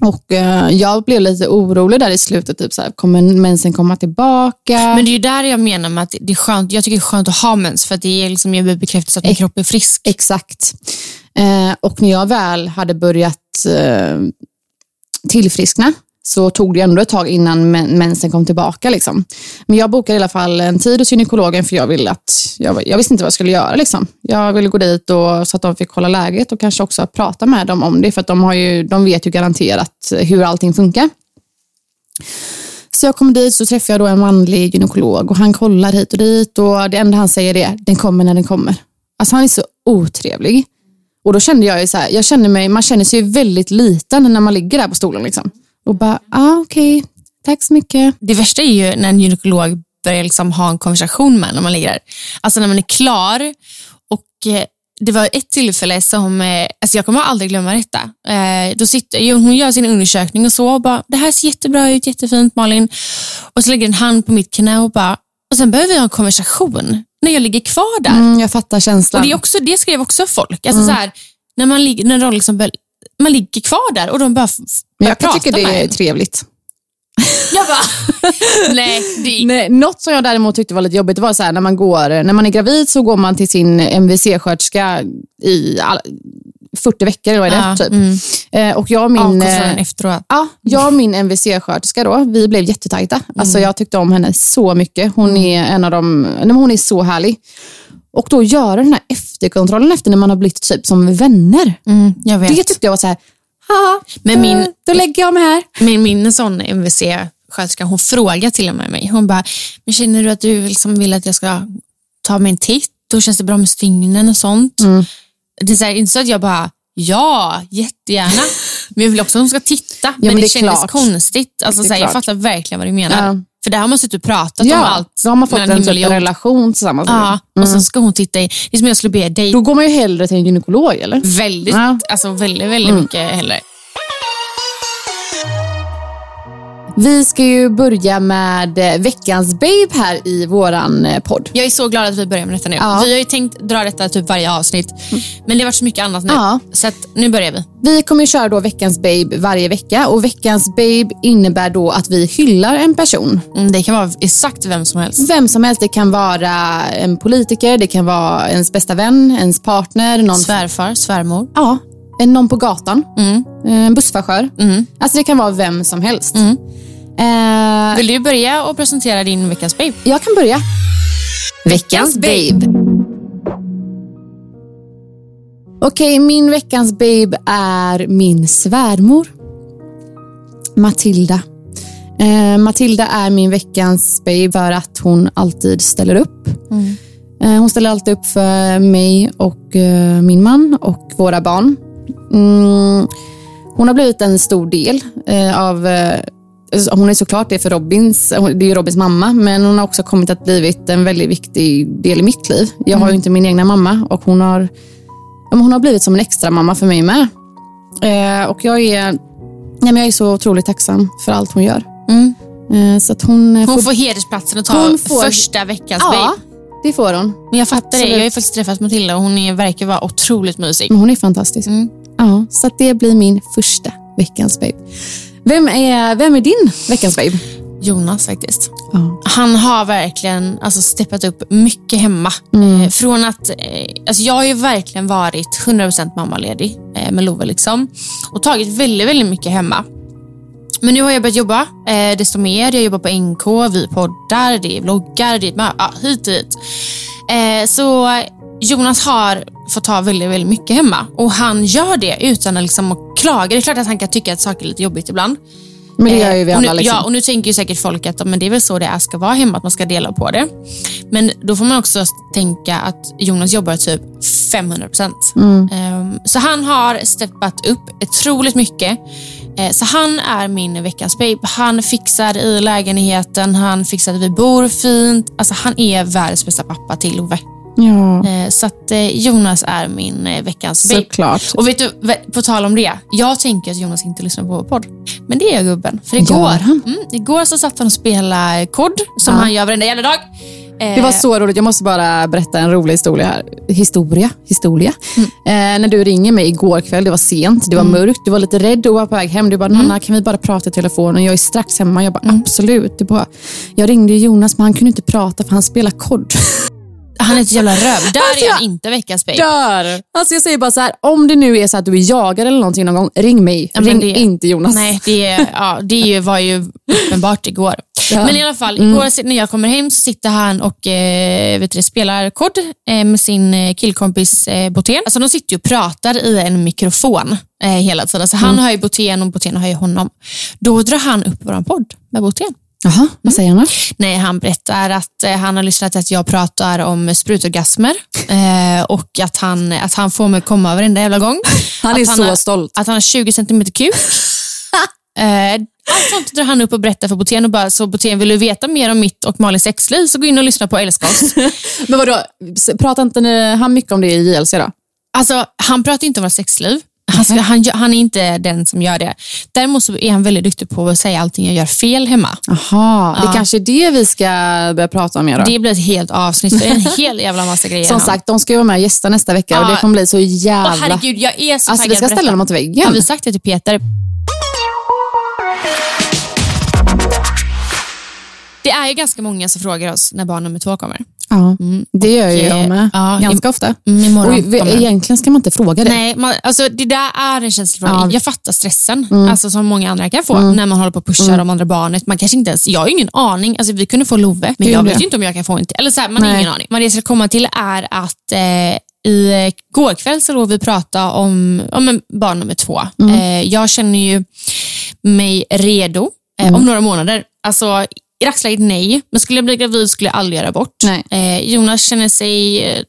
Speaker 3: Och eh, jag blev lite orolig där i slutet, typ så här, kommer mensen komma tillbaka?
Speaker 2: Men det är ju där jag menar med att det är skönt. Jag tycker det är skönt att ha mens för att det är liksom, jag blir bekräftelse att min kropp är frisk.
Speaker 3: Exakt. Eh, och när jag väl hade börjat eh, tillfriskna så tog det ändå ett tag innan men- mensen kom tillbaka. Liksom. Men jag bokade i alla fall en tid hos gynekologen för jag, ville att, jag, jag visste inte vad jag skulle göra. Liksom. Jag ville gå dit och, så att de fick kolla läget och kanske också prata med dem om det för att de, har ju, de vet ju garanterat hur allting funkar. Så jag kom dit så träffade jag då en manlig gynekolog och han kollar hit och dit och det enda han säger är den kommer när den kommer. Alltså han är så otrevlig. Och då kände jag ju så här, jag kände mig, man känner sig ju väldigt liten när man ligger där på stolen liksom. Och bara, ah, okej, tack så mycket.
Speaker 2: Det värsta är ju när en gynekolog börjar liksom ha en konversation med när man ligger där. Alltså när man är klar. Och eh, Det var ett tillfälle som, eh, alltså jag kommer aldrig glömma detta. Eh, Då sitter, jo, hon gör sin undersökning och så och bara, det här ser jättebra ut, jättefint Malin. Och så lägger en hand på mitt knä och bara, och sen behöver vi ha en konversation när jag ligger kvar där.
Speaker 3: Mm, jag fattar känslan.
Speaker 2: Och det, är också, det skrev också folk.
Speaker 3: Mm.
Speaker 2: Alltså så här, när man, ligger- när de liksom bör, man ligger kvar där och de bara f-
Speaker 3: Men
Speaker 2: börjar
Speaker 3: jag kan tycka
Speaker 2: prata med
Speaker 3: det är
Speaker 2: en.
Speaker 3: trevligt.
Speaker 2: Jag bara, [LAUGHS] nej, det
Speaker 3: [LAUGHS]
Speaker 2: är
Speaker 3: Nej, något som jag däremot tyckte var lite jobbigt var så här, när man går, när man är gravid så går man till sin MVC-sköterska i all, 40 veckor, eller vad är det?
Speaker 2: Ja,
Speaker 3: typ.
Speaker 2: mm.
Speaker 3: Eh, och jag och min...
Speaker 2: avkontrollen
Speaker 3: eh,
Speaker 2: efteråt.
Speaker 3: Ja, jag och min MVC-sköterska då, vi blev jättetajta. Alltså
Speaker 2: Mm.
Speaker 3: jag tyckte om henne så mycket. Hon är en av de, nej, men hon är så härlig. Och då göra den här efterkontrollen efter när man har blivit typ som vänner.
Speaker 2: Mm, jag vet.
Speaker 3: Det typ tyckte jag var så här, haha,
Speaker 2: Men min-
Speaker 3: då, då lägger jag mig här.
Speaker 2: Min, min sån MVC sköterska hon frågar till och med mig. Hon bara, men känner du att du liksom vill att jag ska ta mig en titt? Då känns det bra med stygnen och sånt.
Speaker 3: Mm.
Speaker 2: Det är så här, inte så att jag bara, ja,
Speaker 3: [LAUGHS]
Speaker 2: jättegärna. Men jag vill också att hon ska titta. men,
Speaker 3: men
Speaker 2: det,
Speaker 3: det är
Speaker 2: kändes
Speaker 3: klart.
Speaker 2: konstigt. Alltså,
Speaker 3: Det är
Speaker 2: så här, jag
Speaker 3: klart.
Speaker 2: fattar verkligen vad du menar.
Speaker 3: Ja.
Speaker 2: För där har man suttit och pratat om allt.
Speaker 3: då har man fått
Speaker 2: mellan
Speaker 3: en,
Speaker 2: himmel
Speaker 3: typ,
Speaker 2: och jord.
Speaker 3: relation tillsammans. med
Speaker 2: Ja,
Speaker 3: dem.
Speaker 2: och sen ska hon titta i. Det är som jag skulle be dig
Speaker 3: Då går man ju hellre till en gynekolog eller?
Speaker 2: väldigt,
Speaker 3: Ja. Mm.
Speaker 2: alltså väldigt, väldigt mycket hellre.
Speaker 3: Vi ska ju börja med eh, veckans babe här i våran eh, podd.
Speaker 2: Jag är så glad att vi börjar med detta nu.
Speaker 3: Ja.
Speaker 2: Vi har ju tänkt dra detta typ varje avsnitt, men det har varit så mycket annat nu.
Speaker 3: Ja.
Speaker 2: Så att nu börjar vi.
Speaker 3: Vi kommer ju köra då veckans babe varje vecka och veckans babe innebär då att vi hyllar en person.
Speaker 2: Mm, Det kan vara exakt vem som helst.
Speaker 3: Vem som helst, det kan vara en politiker, det kan vara ens bästa vän, ens partner,
Speaker 2: Mm.
Speaker 3: någon,
Speaker 2: Svärfar, svärmor.
Speaker 3: ja, en- någon på gatan, eh, en busschaufför. Alltså det kan vara vem som helst. Eh,
Speaker 2: Vill du börja och presentera din veckans babe?
Speaker 3: jag kan börja. Veckans babe. Okej, min veckans babe är min svärmor. Matilda. Eh, Matilda är min veckans babe för att hon alltid ställer upp. Eh, hon ställer alltid upp för mig och eh, min man och våra barn. Mm, hon har blivit en stor del eh, av... Eh, hon är såklart det för Robins, hon- det är ju Robins mamma, men hon har också kommit att blivit en väldigt viktig del i mitt liv. Jag har ju inte min egna mamma och hon har, ja, men hon har blivit som en extra mamma för mig med. Eh, och jag är, nej, men jag är så otroligt tacksam för allt hon gör. Eh, så att hon, eh,
Speaker 2: Hon får hedersplatsen att ta
Speaker 3: Hon får-
Speaker 2: första veckans
Speaker 3: Ja,
Speaker 2: babe.
Speaker 3: det får hon.
Speaker 2: Men jag fattar det.
Speaker 3: Absolut.
Speaker 2: Jag har ju faktiskt träffat Matilda och hon är, verkar vara otroligt mysig. Mm.
Speaker 3: Men hon är fantastisk. Ja, så att det blir min första veckans babe. Vem är, vem är din veckans babe?
Speaker 2: Jonas faktiskt. Han har verkligen alltså, steppat upp mycket hemma. Eh, från att, eh, alltså, jag har ju verkligen varit 100% mammaledig eh, med Love liksom, och tagit väldigt, väldigt mycket hemma. Men nu har jag börjat jobba eh, desto mer. Jag jobbar på NK, vi poddar, det är vloggar, det är mö- ja, hit och dit. Eh, så Jonas har fått ta väldigt, väldigt mycket hemma och han gör det utan att liksom att klaga. Det är klart att han kan tycka att saker är lite jobbigt ibland.
Speaker 3: Men det gör ju vi
Speaker 2: Eh, och nu,
Speaker 3: alla. Liksom.
Speaker 2: Ja, och nu tänker ju säkert folk att ja, men det är väl så det är, ska vara hemma, att man ska dela på det. Men då får man också tänka att Jonas jobbar typ 500 procent.
Speaker 3: Mm.
Speaker 2: Ehm, så han har steppat upp otroligt mycket. Eh, så han är min veckans babe. Han fixar i lägenheten, han fixar att vi bor fint. Alltså, han är världens bästa pappa till Love.
Speaker 3: ja.
Speaker 2: Eh, Så att eh, Jonas är min eh, veckans babe.
Speaker 3: Såklart.
Speaker 2: Och vet du, vä- på tal om det. Jag tänker att Jonas inte lyssnar på vår podd. Men det gör gubben. För igår,
Speaker 3: Gör han?
Speaker 2: Mm, igår så satt han och spelade kod som han gör varenda jävla dag. Eh,
Speaker 3: Det var så roligt. Jag måste bara berätta en rolig historia här. Historia? Historia.
Speaker 2: Mm.
Speaker 3: Eh, när du ringer mig igår kväll, det var sent, det var mörkt, du var lite rädd och var på väg hem. Du bara,
Speaker 2: Mm.
Speaker 3: Nanna kan vi bara prata i telefonen? Jag är strax hemma. Jag bara, absolut. Du bara, jag ringde ju Jonas men han kunde inte prata för han spelar kod. [LAUGHS]
Speaker 2: Han är ett jävla röv. Där
Speaker 3: Alltså,
Speaker 2: är
Speaker 3: jag-
Speaker 2: han inte veckans babe.
Speaker 3: Dör! Alltså jag säger bara så här, om det nu är så att du är jagad eller någonting någon gång, ring mig.
Speaker 2: men
Speaker 3: ring
Speaker 2: det-
Speaker 3: inte Jonas.
Speaker 2: Nej, det, ja, det var ju uppenbart igår. Men i alla fall, igår sit- när jag kommer hem så sitter han och eh, vet du, det, spelar kod eh, med sin eh, killkompis eh, Botén. Alltså, de sitter ju och pratar i en mikrofon eh, hela tiden. Så han hör ju Botén och Botén hör ju honom. Då drar han upp vår podd med Botén.
Speaker 3: Jaha, vad säger han då?
Speaker 2: Nej, han berättar att eh, han har lyssnat till att jag pratar om sprutorgasmer eh, och att han, att han får mig komma varenda jävla gång.
Speaker 3: [LAUGHS] Han
Speaker 2: att
Speaker 3: är så
Speaker 2: har,
Speaker 3: stolt.
Speaker 2: Att han har 20
Speaker 3: [LAUGHS]
Speaker 2: centimeter kuk. eh, allt sånt drar han upp och berättar för Botén och bara, så Botén vill du veta mer om mitt och Malins sexliv så gå in och lyssna på Älska
Speaker 3: [LAUGHS]
Speaker 2: oss.
Speaker 3: Men vadå, s- pratar inte ni- han mycket om det i JLC då?
Speaker 2: Alltså, han pratar inte om vårt sexliv. Han, ska, han, gör- han är inte den som gör det. Däremot så är han väldigt duktig på att säga allting jag gör fel hemma.
Speaker 3: Jaha, det kanske är det vi ska börja prata om mer då.
Speaker 2: Det blir ett helt avsnitt, det är en [LAUGHS] hel jävla massa grejer.
Speaker 3: Som
Speaker 2: han-
Speaker 3: sagt, de ska ju vara med och gästa nästa vecka och
Speaker 2: Ja.
Speaker 3: det kommer bli så jävla...
Speaker 2: Åh, herregud, jag är så
Speaker 3: alltså
Speaker 2: taggad
Speaker 3: vi ska
Speaker 2: på
Speaker 3: ställa
Speaker 2: detta.
Speaker 3: dem mot
Speaker 2: Har
Speaker 3: väggen.
Speaker 2: vi sagt det till Peter? Det är ju ganska många som frågar oss när barn nummer två kommer.
Speaker 3: Ja, det gör ju jag med.
Speaker 2: Mm. ja,
Speaker 3: Ganska ofta.
Speaker 2: mm, imorgon
Speaker 3: och vi,
Speaker 2: kommer.
Speaker 3: egentligen ska man inte fråga det.
Speaker 2: Nej, man, alltså det där är en känslig fråga. Jag fattar stressen alltså, som många andra kan få när man håller på och pushar de andra barnet. Man kanske inte ens, jag har ju ingen aning. Alltså, vi kunde få Love, men
Speaker 3: Kul
Speaker 2: jag
Speaker 3: det.
Speaker 2: vet ju inte om jag kan få en till. Eller så här, man har ingen aning. Vad det ska komma till är att eh, i går kväll så låg vi och prata om, om en barn nummer två. Eh, jag känner ju mig redo eh, om några månader. Alltså, i dagsläget nej, men skulle jag bli gravid skulle jag aldrig göra abort.
Speaker 3: Nej.
Speaker 2: Eh, Jonas känner sig eh,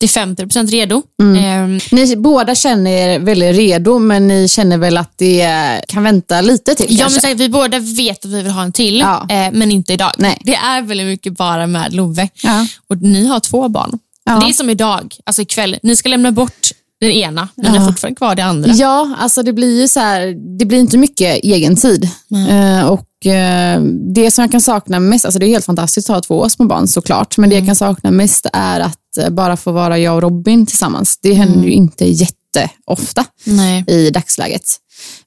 Speaker 2: till 50% redo. Ehm,
Speaker 3: Ni båda känner er väldigt redo, men ni känner väl att det kan vänta lite till
Speaker 2: Ja,
Speaker 3: kanske?
Speaker 2: men säkert, vi båda vet att vi vill ha en till,
Speaker 3: Ja.
Speaker 2: eh, men inte idag.
Speaker 3: Nej.
Speaker 2: Det är väldigt mycket bara med Love.
Speaker 3: Ja.
Speaker 2: Och ni har två barn.
Speaker 3: Ja.
Speaker 2: Det är som idag, alltså ikväll. Ni ska lämna bort den ena, men ni har fortfarande kvar det andra.
Speaker 3: Ja, alltså det blir ju så här, det blir inte mycket egen tid. Eh, och eh, det som jag kan sakna mest, alltså det är helt fantastiskt att ha två små barn såklart, men det jag kan sakna mest är att eh, bara få vara jag och Robin tillsammans. Det händer ju inte jätteofta
Speaker 2: Nej.
Speaker 3: i dagsläget.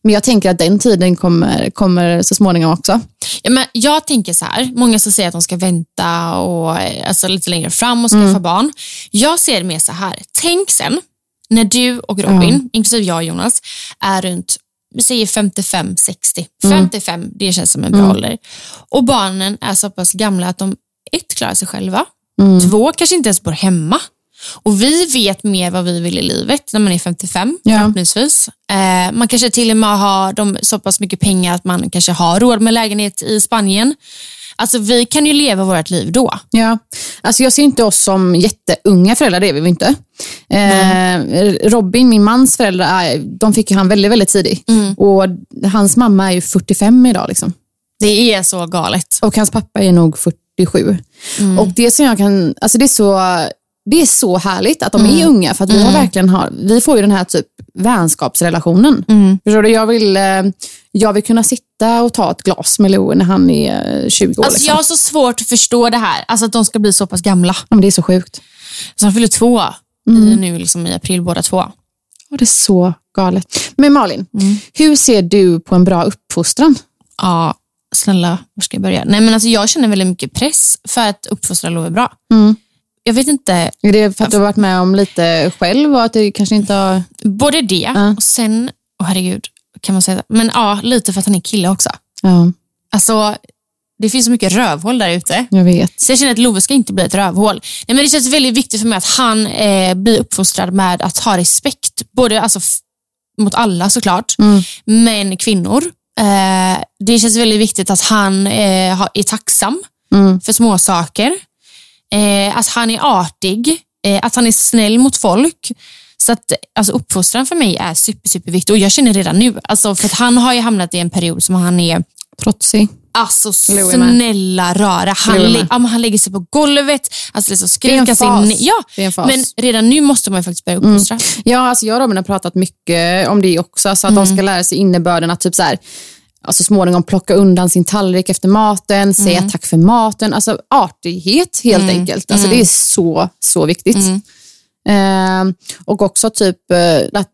Speaker 3: Men jag tänker att den tiden kommer, kommer så småningom också.
Speaker 2: Ja, men jag tänker så här, många som säger att de ska vänta och, eh, alltså, lite längre fram och skaffa barn. Jag ser det mer så här, tänk sen när du och Robin, inklusive jag och Jonas, är runt vi säger 55, 60. 55, det känns som en bra ålder. Och barnen är så pass gamla att de ett, klarar sig själva,
Speaker 3: Mm.
Speaker 2: två, kanske inte ens bor hemma. Och vi vet mer vad vi vill i livet när man är 55,
Speaker 3: Ja.
Speaker 2: förhoppningsvis. Eh, man kanske till och med har de, så pass mycket pengar att man kanske har råd med lägenhet i Spanien. Alltså vi kan ju leva vårt liv då.
Speaker 3: Ja, alltså jag ser inte oss som jätteunga föräldrar, det är vi ju inte. Eh, Robin, min mans föräldrar, eh, de fick ju han väldigt, väldigt tidigt.
Speaker 2: Mm.
Speaker 3: Och hans mamma är ju 45 idag liksom.
Speaker 2: Det är så galet.
Speaker 3: och hans pappa är nog 47.
Speaker 2: Mm.
Speaker 3: Och det som jag kan, alltså det är så, det är så härligt att de
Speaker 2: Mm.
Speaker 3: är unga för att vi har verkligen har, vi får ju den här typ vänskapsrelationen.
Speaker 2: Mm.
Speaker 3: Förstår du? Jag vill, eh, jag vill kunna sitta och ta ett glas med Lou när han är eh, 20 år.
Speaker 2: Alltså,
Speaker 3: liksom.
Speaker 2: jag har så svårt att förstå det här, alltså att de ska bli så pass gamla.
Speaker 3: ja, men det är så sjukt. Mm.
Speaker 2: Så de fyller två i- nu liksom, i april båda två.
Speaker 3: var det så galet. Men Malin, hur ser du på en bra uppfostran?
Speaker 2: Ja, snälla, var ska jag börja? Nej, men alltså, jag känner väldigt mycket press för att uppfostra Love bra. Jag vet inte,
Speaker 3: Är det för att du har varit med om lite själv och att du kanske inte har...
Speaker 2: både det och sen, oh, herregud, kan man säga Men ja, lite för att han är kille också.
Speaker 3: Ja,
Speaker 2: Alltså, det finns så mycket rövhål där ute.
Speaker 3: jag vet.
Speaker 2: Så jag känner att Love ska inte bli ett rövhål. Nej, men det känns väldigt viktigt för mig att han eh, blir uppfostrad med att ha respekt. Både alltså, f- mot alla såklart, men kvinnor. Eh, det känns väldigt viktigt att han eh, har- är tacksam för små saker. Eh, att han är artig, eh, att han är snäll mot folk. Så att alltså, uppfostran för mig är super, superviktig och jag känner redan nu, alltså, för att han har ju hamnat i en period som han är
Speaker 3: Trotsig.
Speaker 2: Alltså
Speaker 3: Lou är med.
Speaker 2: snälla rara. Han,
Speaker 3: Lou är med.
Speaker 2: lä- ja, men han lägger sig på golvet, alltså liksom
Speaker 3: Det är en
Speaker 2: skrika
Speaker 3: fas.
Speaker 2: sin... Ja,
Speaker 3: Det är en fas. Mm.
Speaker 2: men redan nu måste man ju faktiskt börja uppfostra.
Speaker 3: Ja, alltså jag och Robin har pratat mycket om det också, så att de ska lära sig innebörden att typ så här, alltså småningom plocka undan sin tallrik efter maten, säga tack för maten, alltså artighet helt enkelt. Alltså det är så, så viktigt. Ehm, och också typ eh, att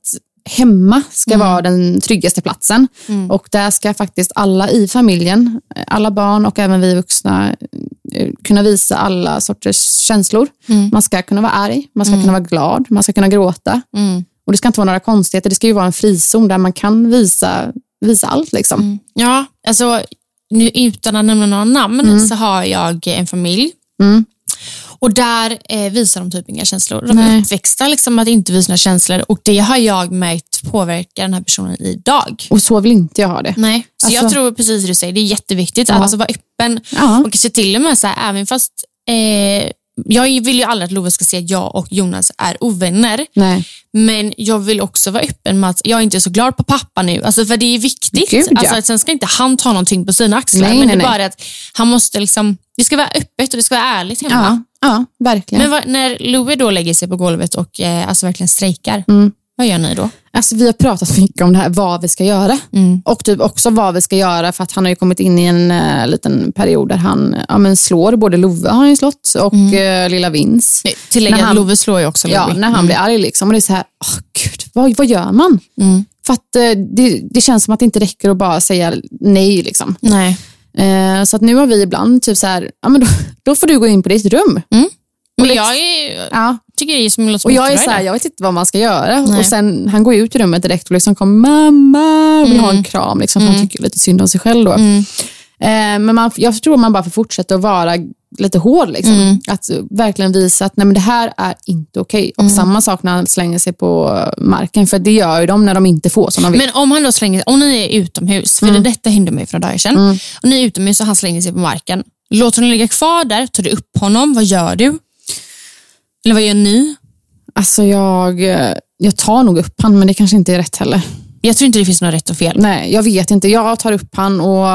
Speaker 3: hemma ska vara den tryggaste platsen. Och där ska faktiskt alla i familjen, eh, alla barn och även vi vuxna, eh, kunna visa alla sorters känslor. Man ska kunna vara arg, man ska kunna vara glad, man ska kunna gråta. Och det ska inte vara några konstigheter, det ska ju vara en frizon där man kan visa, visa allt. Liksom.
Speaker 2: Ja, alltså nu utan att nämna några namn
Speaker 3: Mm.
Speaker 2: så har jag en familj. Och där eh, visar de typ inga känslor. De är uppväxta liksom att inte visa några känslor och det har jag märkt påverkar den här personen idag.
Speaker 3: Och så vill inte jag ha det.
Speaker 2: Nej, så
Speaker 3: Alltså-
Speaker 2: jag tror precis det du säger, det är jätteviktigt att alltså, vara öppen
Speaker 3: Ja.
Speaker 2: och kanske till och med så här, även fast eh, jag vill ju aldrig att Love ska se att jag och Jonas är ovänner,
Speaker 3: Nej.
Speaker 2: men jag vill också vara öppen med att jag inte är så glad på pappa nu, alltså, för det är viktigt.
Speaker 3: Gud, ja.
Speaker 2: alltså, att sen ska inte han ta någonting på sina axlar,
Speaker 3: Nej,
Speaker 2: men
Speaker 3: nej,
Speaker 2: det är
Speaker 3: nej.
Speaker 2: bara att han måste liksom, det ska vara öppet och det ska vara ärligt hemma.
Speaker 3: Ja, ja verkligen.
Speaker 2: Men vad, när Louie då lägger sig på golvet och eh, alltså verkligen strejkar,
Speaker 3: Mm.
Speaker 2: vad gör ni då?
Speaker 3: Alltså, vi har pratat mycket om det här, vad vi ska göra. Och typ också vad vi ska göra, för att han har ju kommit in i en eh, liten period där han ja, men slår. Både Love har han ju slått och eh, lilla Vins.
Speaker 2: Tillägga
Speaker 3: När
Speaker 2: att
Speaker 3: han-
Speaker 2: Love slår ju också
Speaker 3: Ja,
Speaker 2: Louie.
Speaker 3: när han blir arg. Liksom. Och det är så här, åh gud, vad, vad gör man? För att eh, det, det känns som att det inte räcker att bara säga nej. Liksom.
Speaker 2: Nej.
Speaker 3: Eh, så att nu har vi ibland typ så här, ja, men då, då får du gå in på ditt rum.
Speaker 2: Men jag är,
Speaker 3: Ja,
Speaker 2: tycker det är som Lotta
Speaker 3: Och jag är
Speaker 2: Smith-Rydell.
Speaker 3: så jag vet inte vad man ska göra.
Speaker 2: Nej.
Speaker 3: Och sen Han går ut ur rummet direkt och liksom kommer, mamma, vill ha
Speaker 2: Mm.
Speaker 3: en kram. Liksom, för Han tycker lite synd om sig själv då. Eh, men man, jag tror man bara får fortsätta att vara lite hård. Liksom.
Speaker 2: Mm.
Speaker 3: Att verkligen visa att nej, men det här är inte okej. Och
Speaker 2: Mm.
Speaker 3: samma sak när han slänger sig på marken, för det gör ju de när de inte får som de vill.
Speaker 2: Men om han då slänger om ni är utomhus, för
Speaker 3: Mm.
Speaker 2: det, detta hände mig för några dagar sedan, och ni är utomhus och han slänger sig på marken, låter honom ligga kvar där, tar du upp honom, vad gör du? Eller vad gör ni?
Speaker 3: Alltså jag, eh, jag tar nog upp han, men det kanske inte är rätt heller.
Speaker 2: Jag tror inte det finns något rätt och fel.
Speaker 3: Nej, jag vet inte. Jag tar upp han och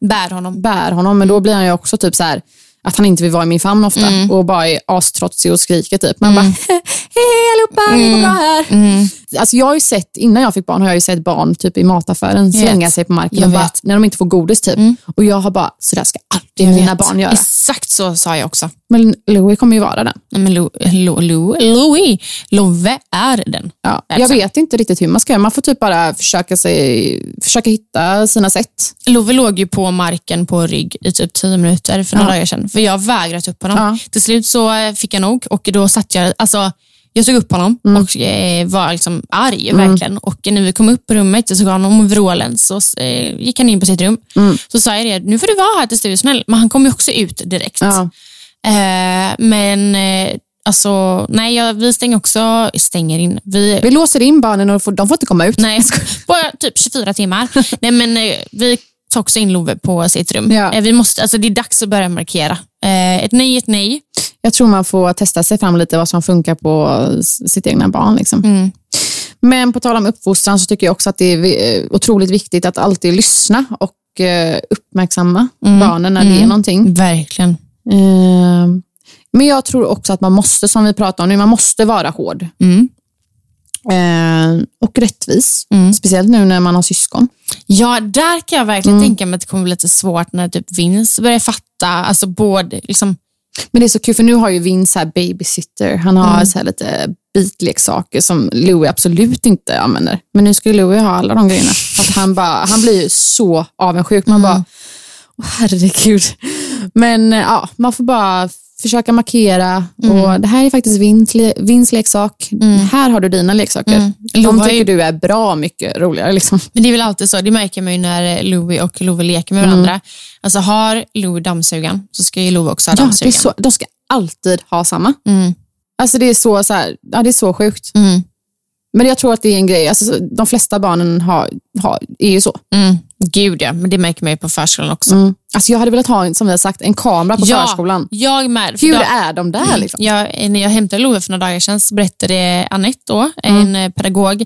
Speaker 2: Bär honom.
Speaker 3: bär honom, men då blir han ju också typ så här att han inte vill vara i min famn ofta
Speaker 2: Mm.
Speaker 3: och bara är astrotsig och skriker. Typ. Man bara, [LAUGHS] hej allihopa, det
Speaker 2: Mm.
Speaker 3: går bra här. Alltså, jag har ju sett, innan jag fick barn har jag ju sett barn typ i mataffären
Speaker 2: Jag vet.
Speaker 3: slänga sig på marken
Speaker 2: Jag
Speaker 3: och bara,
Speaker 2: vet. Mm.
Speaker 3: när de inte får godis. Typ. Och jag har bara, så där ska aldrig mina barn göra.
Speaker 2: Exakt så sa jag också.
Speaker 3: Men Louie kommer ju vara den.
Speaker 2: Nej, men Lo, Lo, Lo, Louis, Love är den.
Speaker 3: Ja.
Speaker 2: Alltså.
Speaker 3: Jag vet inte riktigt hur man ska göra. Man får typ bara försöka, sig, försöka hitta sina sätt.
Speaker 2: Love låg ju på marken på rygg i typ 10 minuter för några dagar sedan. För jag vägrade ta upp honom.
Speaker 3: Ja.
Speaker 2: Till slut så eh, fick jag nog och då satt jag, alltså jag tog upp honom
Speaker 3: Mm.
Speaker 2: och eh, var liksom arg verkligen. Och när vi kom upp på rummet, jag såg honom och vrålen, så eh, gick han in på sitt rum.
Speaker 3: Mm.
Speaker 2: Så sa jag det, nu får du vara här tills du är snäll. Men han kom ju också ut direkt.
Speaker 3: Ja.
Speaker 2: Eh, men eh, alltså, nej, jag, vi stänger också, stänger in. Vi,
Speaker 3: Vi låser in barnen och får, de får inte komma ut.
Speaker 2: Nej, jag skojar. Bara typ
Speaker 3: [LAUGHS]
Speaker 2: 24 timmar. Nej, men eh, vi tar också in Love på sitt rum.
Speaker 3: Ja.
Speaker 2: Eh, Vi måste, alltså, det är dags att börja markera. Eh, Ett nej är ett nej.
Speaker 3: Jag tror man får testa sig fram lite vad som funkar på s- sitt egna barn. Liksom. Men på tal om uppfostran så tycker jag också att det är vi- eh, otroligt viktigt att alltid lyssna och eh, uppmärksamma barnen när det är någonting.
Speaker 2: Verkligen.
Speaker 3: Ehm, Men jag tror också att man måste, som vi pratade om nu, man måste vara hård. Ehm, Och rättvis. Speciellt nu när man har syskon.
Speaker 2: Ja, där
Speaker 3: Mm.
Speaker 2: kan jag verkligen tänka mig att det kommer bli lite svårt när typ Vince börjar fatta, alltså både liksom,
Speaker 3: Men det är så kul för nu har ju Vin så här babysitter. Han har så här lite bitleksaker som Louie absolut inte använder. Men nu ska ju Louie ha alla de grejerna. Att han, bara, han blir ju så avundsjuk. Man bara, åh, herregud. Men eh, ja, man får bara försöka markera. Och Det här är faktiskt Vins, le- Vins leksak. Här har du dina leksaker. De
Speaker 2: Louie
Speaker 3: tycker
Speaker 2: är ju-
Speaker 3: du är bra mycket roligare. Liksom.
Speaker 2: Men det är väl alltid så, det märker man ju när Louie och Love leker
Speaker 3: Mm.
Speaker 2: med varandra. Alltså har Louie dammsugan så ska ju Love också ha
Speaker 3: Ja, det är
Speaker 2: dammsugan.
Speaker 3: så, de ska alltid ha samma. Alltså det är så, så, här, ja, det är så sjukt.
Speaker 2: Mm.
Speaker 3: Men jag tror att det är en grej, alltså, så- de flesta barnen har, har, är ju så.
Speaker 2: Mm. Gud ja, men det märker man ju på förskolan också.
Speaker 3: Alltså, jag hade velat ha, en, som vi har sagt, en kamera på
Speaker 2: ja,
Speaker 3: förskolan.
Speaker 2: jag med. För
Speaker 3: Hur
Speaker 2: då-
Speaker 3: är de där? Liksom?
Speaker 2: Mm. Jag, när jag hämtade Love för några dagar sedan så berättade Anette, då,
Speaker 3: Mm.
Speaker 2: en eh, pedagog,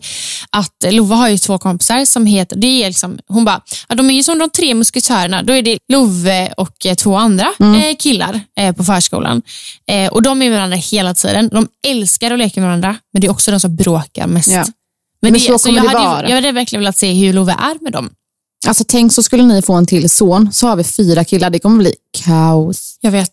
Speaker 2: att Love har ju två kompisar som heter, det är liksom, hon bara, ja, de är ju som de tre musketörerna. Då är det Love och eh, två andra
Speaker 3: Mm.
Speaker 2: eh, killar eh, på förskolan. Eh, och De är med varandra hela tiden. De älskar att leka med varandra, men det är också de som bråkar mest.
Speaker 3: Ja.
Speaker 2: Men, alltså,
Speaker 3: så kommer
Speaker 2: jag
Speaker 3: det
Speaker 2: hade, ju-
Speaker 3: vara.
Speaker 2: Jag hade verkligen velat se hur Love är med dem.
Speaker 3: Alltså, tänk så skulle ni få en till son, så har vi fyra killar, det kommer bli kaos.
Speaker 2: Jag vet.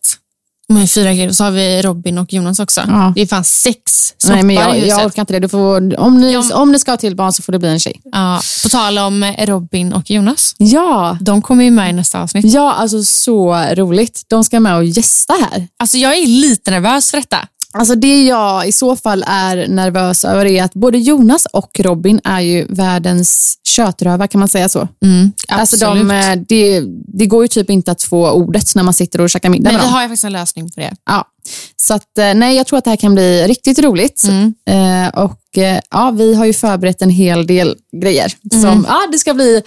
Speaker 2: De är fyra killar, så har vi Robin och Jonas också.
Speaker 3: Ja.
Speaker 2: Det är fan sex
Speaker 3: Nej, men
Speaker 2: snoppar i
Speaker 3: jag,
Speaker 2: huset.
Speaker 3: jag orkar inte det. Du får, om, ni, om ni ska ha till barn så får det bli en tjej.
Speaker 2: Ja, på tal om Robin och Jonas.
Speaker 3: Ja,
Speaker 2: De kommer ju med i nästa avsnitt.
Speaker 3: ja alltså så roligt. De ska med och gästa här.
Speaker 2: Alltså jag är lite nervös för detta.
Speaker 3: Alltså det jag i så fall är nervös över är att både Jonas och Robin är ju världens kötrövar, kan man säga så? Alltså de, eh, det, det går ju typ inte att få ordet när man sitter och käkar middag
Speaker 2: Men
Speaker 3: med
Speaker 2: vi
Speaker 3: dem.
Speaker 2: har ju faktiskt en lösning på det.
Speaker 3: Ja. Så att, eh, nej, jag tror att det här kan bli riktigt roligt. Eh, och eh, ja, vi har ju förberett en hel del grejer. Som, ja, det ska bli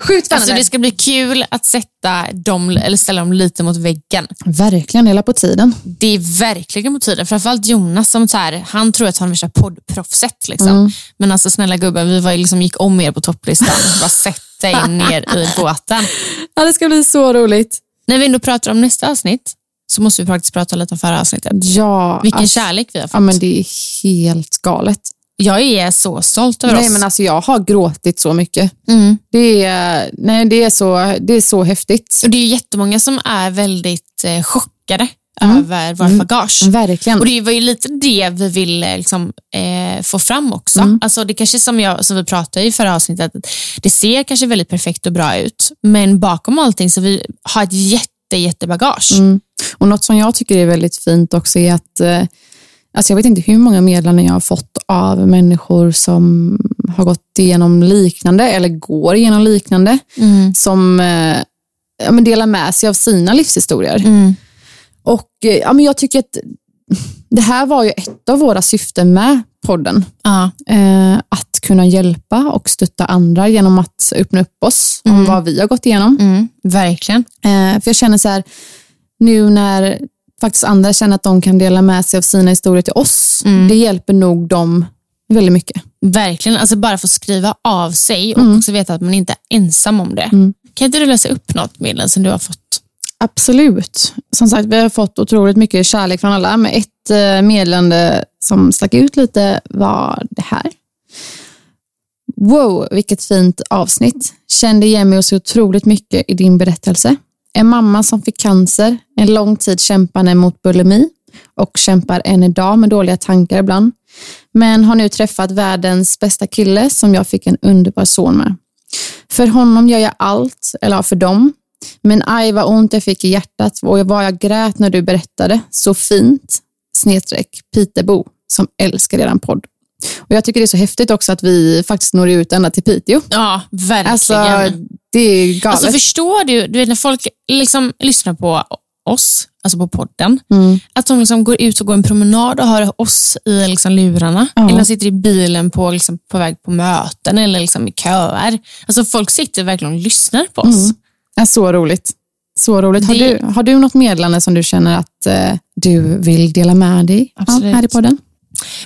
Speaker 3: sjukt spännande.
Speaker 2: Alltså det ska bli kul att sätta dem, eller ställa dem lite mot väggen.
Speaker 3: Verkligen, hela på tiden.
Speaker 2: Det är verkligen på tiden. Framförallt Jonas, som så här, han tror att han är värsta poddproffset. Liksom.
Speaker 3: Mm.
Speaker 2: Men alltså snälla gubben, vi var ju liksom, gick om er på topplistan. Bara sätt dig ner i båten.
Speaker 3: Ja, det ska bli så roligt.
Speaker 2: När vi ändå pratar om nästa avsnitt så måste vi faktiskt prata lite om förra avsnittet.
Speaker 3: Ja,
Speaker 2: Vilken
Speaker 3: alltså,
Speaker 2: kärlek vi har fått.
Speaker 3: Ja, men det är helt galet.
Speaker 2: Jag är så stolt över
Speaker 3: Nej,
Speaker 2: oss.
Speaker 3: men alltså jag har gråtit så mycket.
Speaker 2: Mm.
Speaker 3: Det är, nej, det är, så, det är så häftigt.
Speaker 2: Och Det är ju jättemånga som är väldigt eh, chockade över vårt bagage.
Speaker 3: Verkligen.
Speaker 2: Och Det var ju lite det vi ville liksom, eh, få fram också. Alltså det kanske som, jag, som vi pratade i förra avsnittet, att det ser kanske väldigt perfekt och bra ut, men bakom allting så vi har ett jätte, jättebagage.
Speaker 3: Och något som jag tycker är väldigt fint också är att eh, Alltså jag vet inte hur många meddelanden jag har fått av människor som har gått igenom liknande eller går igenom liknande.
Speaker 2: Mm.
Speaker 3: Som eh, ja, men delar med sig av sina livshistorier.
Speaker 2: Mm.
Speaker 3: Och eh, ja, men Jag tycker att det här var ju ett av våra syften med podden.
Speaker 2: Ja.
Speaker 3: Eh, att kunna hjälpa och stötta andra genom att öppna upp oss om vad vi har gått igenom.
Speaker 2: Mm, verkligen.
Speaker 3: Eh, för jag känner så här, nu när faktiskt andra känner att de kan dela med sig av sina historier till oss, det hjälper nog dem väldigt mycket.
Speaker 2: Verkligen. Alltså bara få skriva av sig och också veta att man inte är ensam om det. Kan inte du läsa upp något, Millen, som du har fått?
Speaker 3: Absolut. Som sagt, vi har fått otroligt mycket kärlek från alla, men ett eh, meddelande som stack ut lite var det här. Wow, vilket fint avsnitt. Kände igen mig så otroligt mycket i din berättelse. En mamma som fick cancer, en lång tid kämpande mot bulimi och kämpar än idag med dåliga tankar ibland. Men har nu träffat världens bästa kille som jag fick en underbar son med. För honom gör jag allt, eller ja, för dem. Men aj vad ont jag fick i hjärtat och vad jag grät när du berättade. Så fint, snedstreck, Pitebo, som älskar eran podd. Och jag tycker det är så häftigt också att vi faktiskt når ut ända till Piteå.
Speaker 2: Ja, verkligen.
Speaker 3: Alltså, det är galet.
Speaker 2: Alltså förstår du, du vet när folk liksom lyssnar på oss, alltså på podden,
Speaker 3: Mm.
Speaker 2: att de liksom går ut och går en promenad och hör oss i liksom lurarna. Eller de sitter i bilen på, liksom, på väg på möten eller liksom i köer. Alltså folk sitter verkligen och lyssnar på oss.
Speaker 3: Mm. Ja, så roligt. Så roligt. Har,
Speaker 2: Det-
Speaker 3: du, har du något meddelande som du känner att eh, du vill dela med dig av
Speaker 2: Absolut.
Speaker 3: här i podden?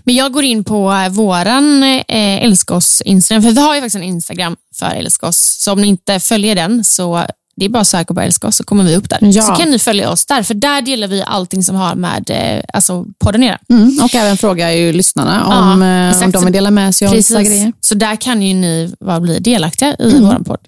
Speaker 2: Men jag går in på eh, våran eh, älska oss Instagram, för vi har ju faktiskt en Instagram för älska oss. Så om ni inte följer den så det är bara att söka på älska oss så kommer vi upp där.
Speaker 3: Ja.
Speaker 2: Så kan ni följa oss där, för där delar vi allting som har med eh, alltså, podden att göra.
Speaker 3: Mm. Och även fråga ju lyssnarna
Speaker 2: Ja,
Speaker 3: om, eh, om
Speaker 2: exakt.
Speaker 3: de vill dela med sig av vissa grejer.
Speaker 2: Så där kan ju ni vara, bli delaktiga i vår podd.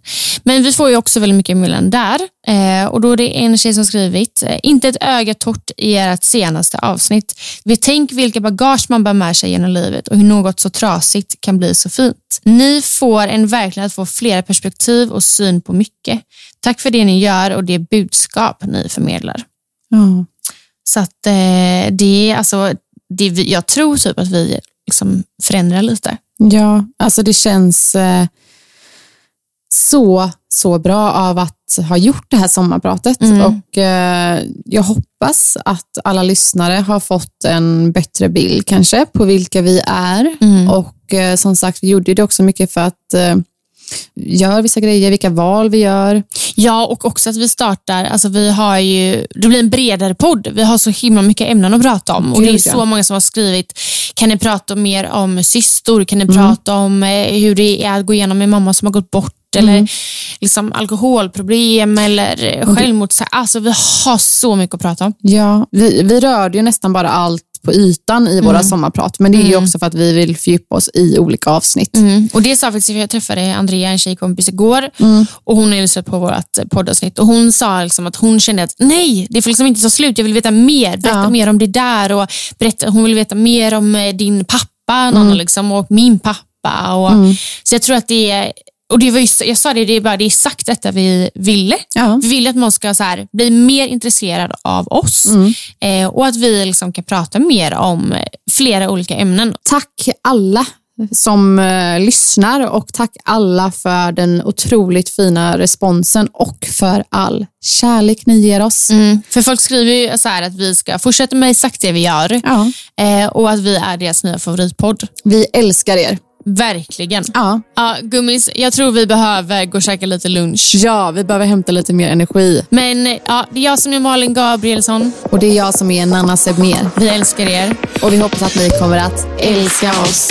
Speaker 2: Men vi får ju också väldigt mycket meddelanden där. Eh, och då är det en tjej som skrivit, eh, inte ett öga torrt i ert senaste avsnitt. Vi tänk vilka bagage man bär med sig genom livet och hur något så trasigt kan bli så fint. Ni får en verkligen att få flera perspektiv och syn på mycket. Tack för det ni gör och det budskap ni förmedlar.
Speaker 3: Ja.
Speaker 2: Så att eh, det är alltså, det vi, jag tror typ att vi liksom förändrar lite.
Speaker 3: Ja, alltså det känns eh, så, så bra av att ha gjort det här sommarpratet.
Speaker 2: Mm.
Speaker 3: Och eh, jag hoppas att alla lyssnare har fått en bättre bild kanske på vilka vi är. Och eh, som sagt, vi gjorde det också mycket för att eh, gör vissa grejer, vilka val vi gör.
Speaker 2: Ja, och också att vi startar, alltså vi har ju, det blir en bredare podd. Vi har så himla mycket ämnen att prata om. Och Det är ju
Speaker 3: Gud, ja.
Speaker 2: så många som har skrivit, kan ni prata mer om systor? Kan ni
Speaker 3: Mm.
Speaker 2: prata om eh, hur det är att gå igenom en mamma som har gått bort?
Speaker 3: Mm.
Speaker 2: Eller liksom alkoholproblem eller eh, självmords... Alltså vi har så mycket att prata om.
Speaker 3: Ja, vi, vi rörde ju nästan bara allt på ytan i våra sommarprat, men det är ju också för att vi vill fördjupa oss i olika avsnitt.
Speaker 2: Mm. Och det sa faktiskt, jag träffade Andrea, en tjejkompis igår och hon har ju lyssnat på vårt poddavsnitt och hon sa liksom att hon kände att nej, det får liksom inte ta slut. Jag vill veta mer. Berätta mer om det där. Och berätta, hon vill veta mer om eh, din pappa någon liksom, och min pappa. Och, Så jag tror att det är och det var ju, jag sa det, det är, bara, det är exakt detta vi ville.
Speaker 3: Ja.
Speaker 2: Vi vill att man ska så här, bli mer intresserad av oss eh, och att vi liksom kan prata mer om eh, flera olika ämnen.
Speaker 3: Tack alla som eh, lyssnar och tack alla för den otroligt fina responsen och för all kärlek ni ger oss.
Speaker 2: Mm, för folk skriver ju så här att vi ska fortsätta med exakt det vi gör
Speaker 3: Ja.
Speaker 2: eh, och att vi är deras nya favoritpodd.
Speaker 3: Vi älskar er.
Speaker 2: Verkligen.
Speaker 3: Ja.
Speaker 2: Ja, gummis, jag tror vi behöver gå och käka lite lunch.
Speaker 3: ja, vi behöver hämta lite mer energi.
Speaker 2: Men eh, ja, det är jag som är Malin Gabrielsson.
Speaker 3: Och det är jag som är Nanna Sebmer.
Speaker 2: Vi älskar er.
Speaker 3: Och vi hoppas att ni kommer att älska oss.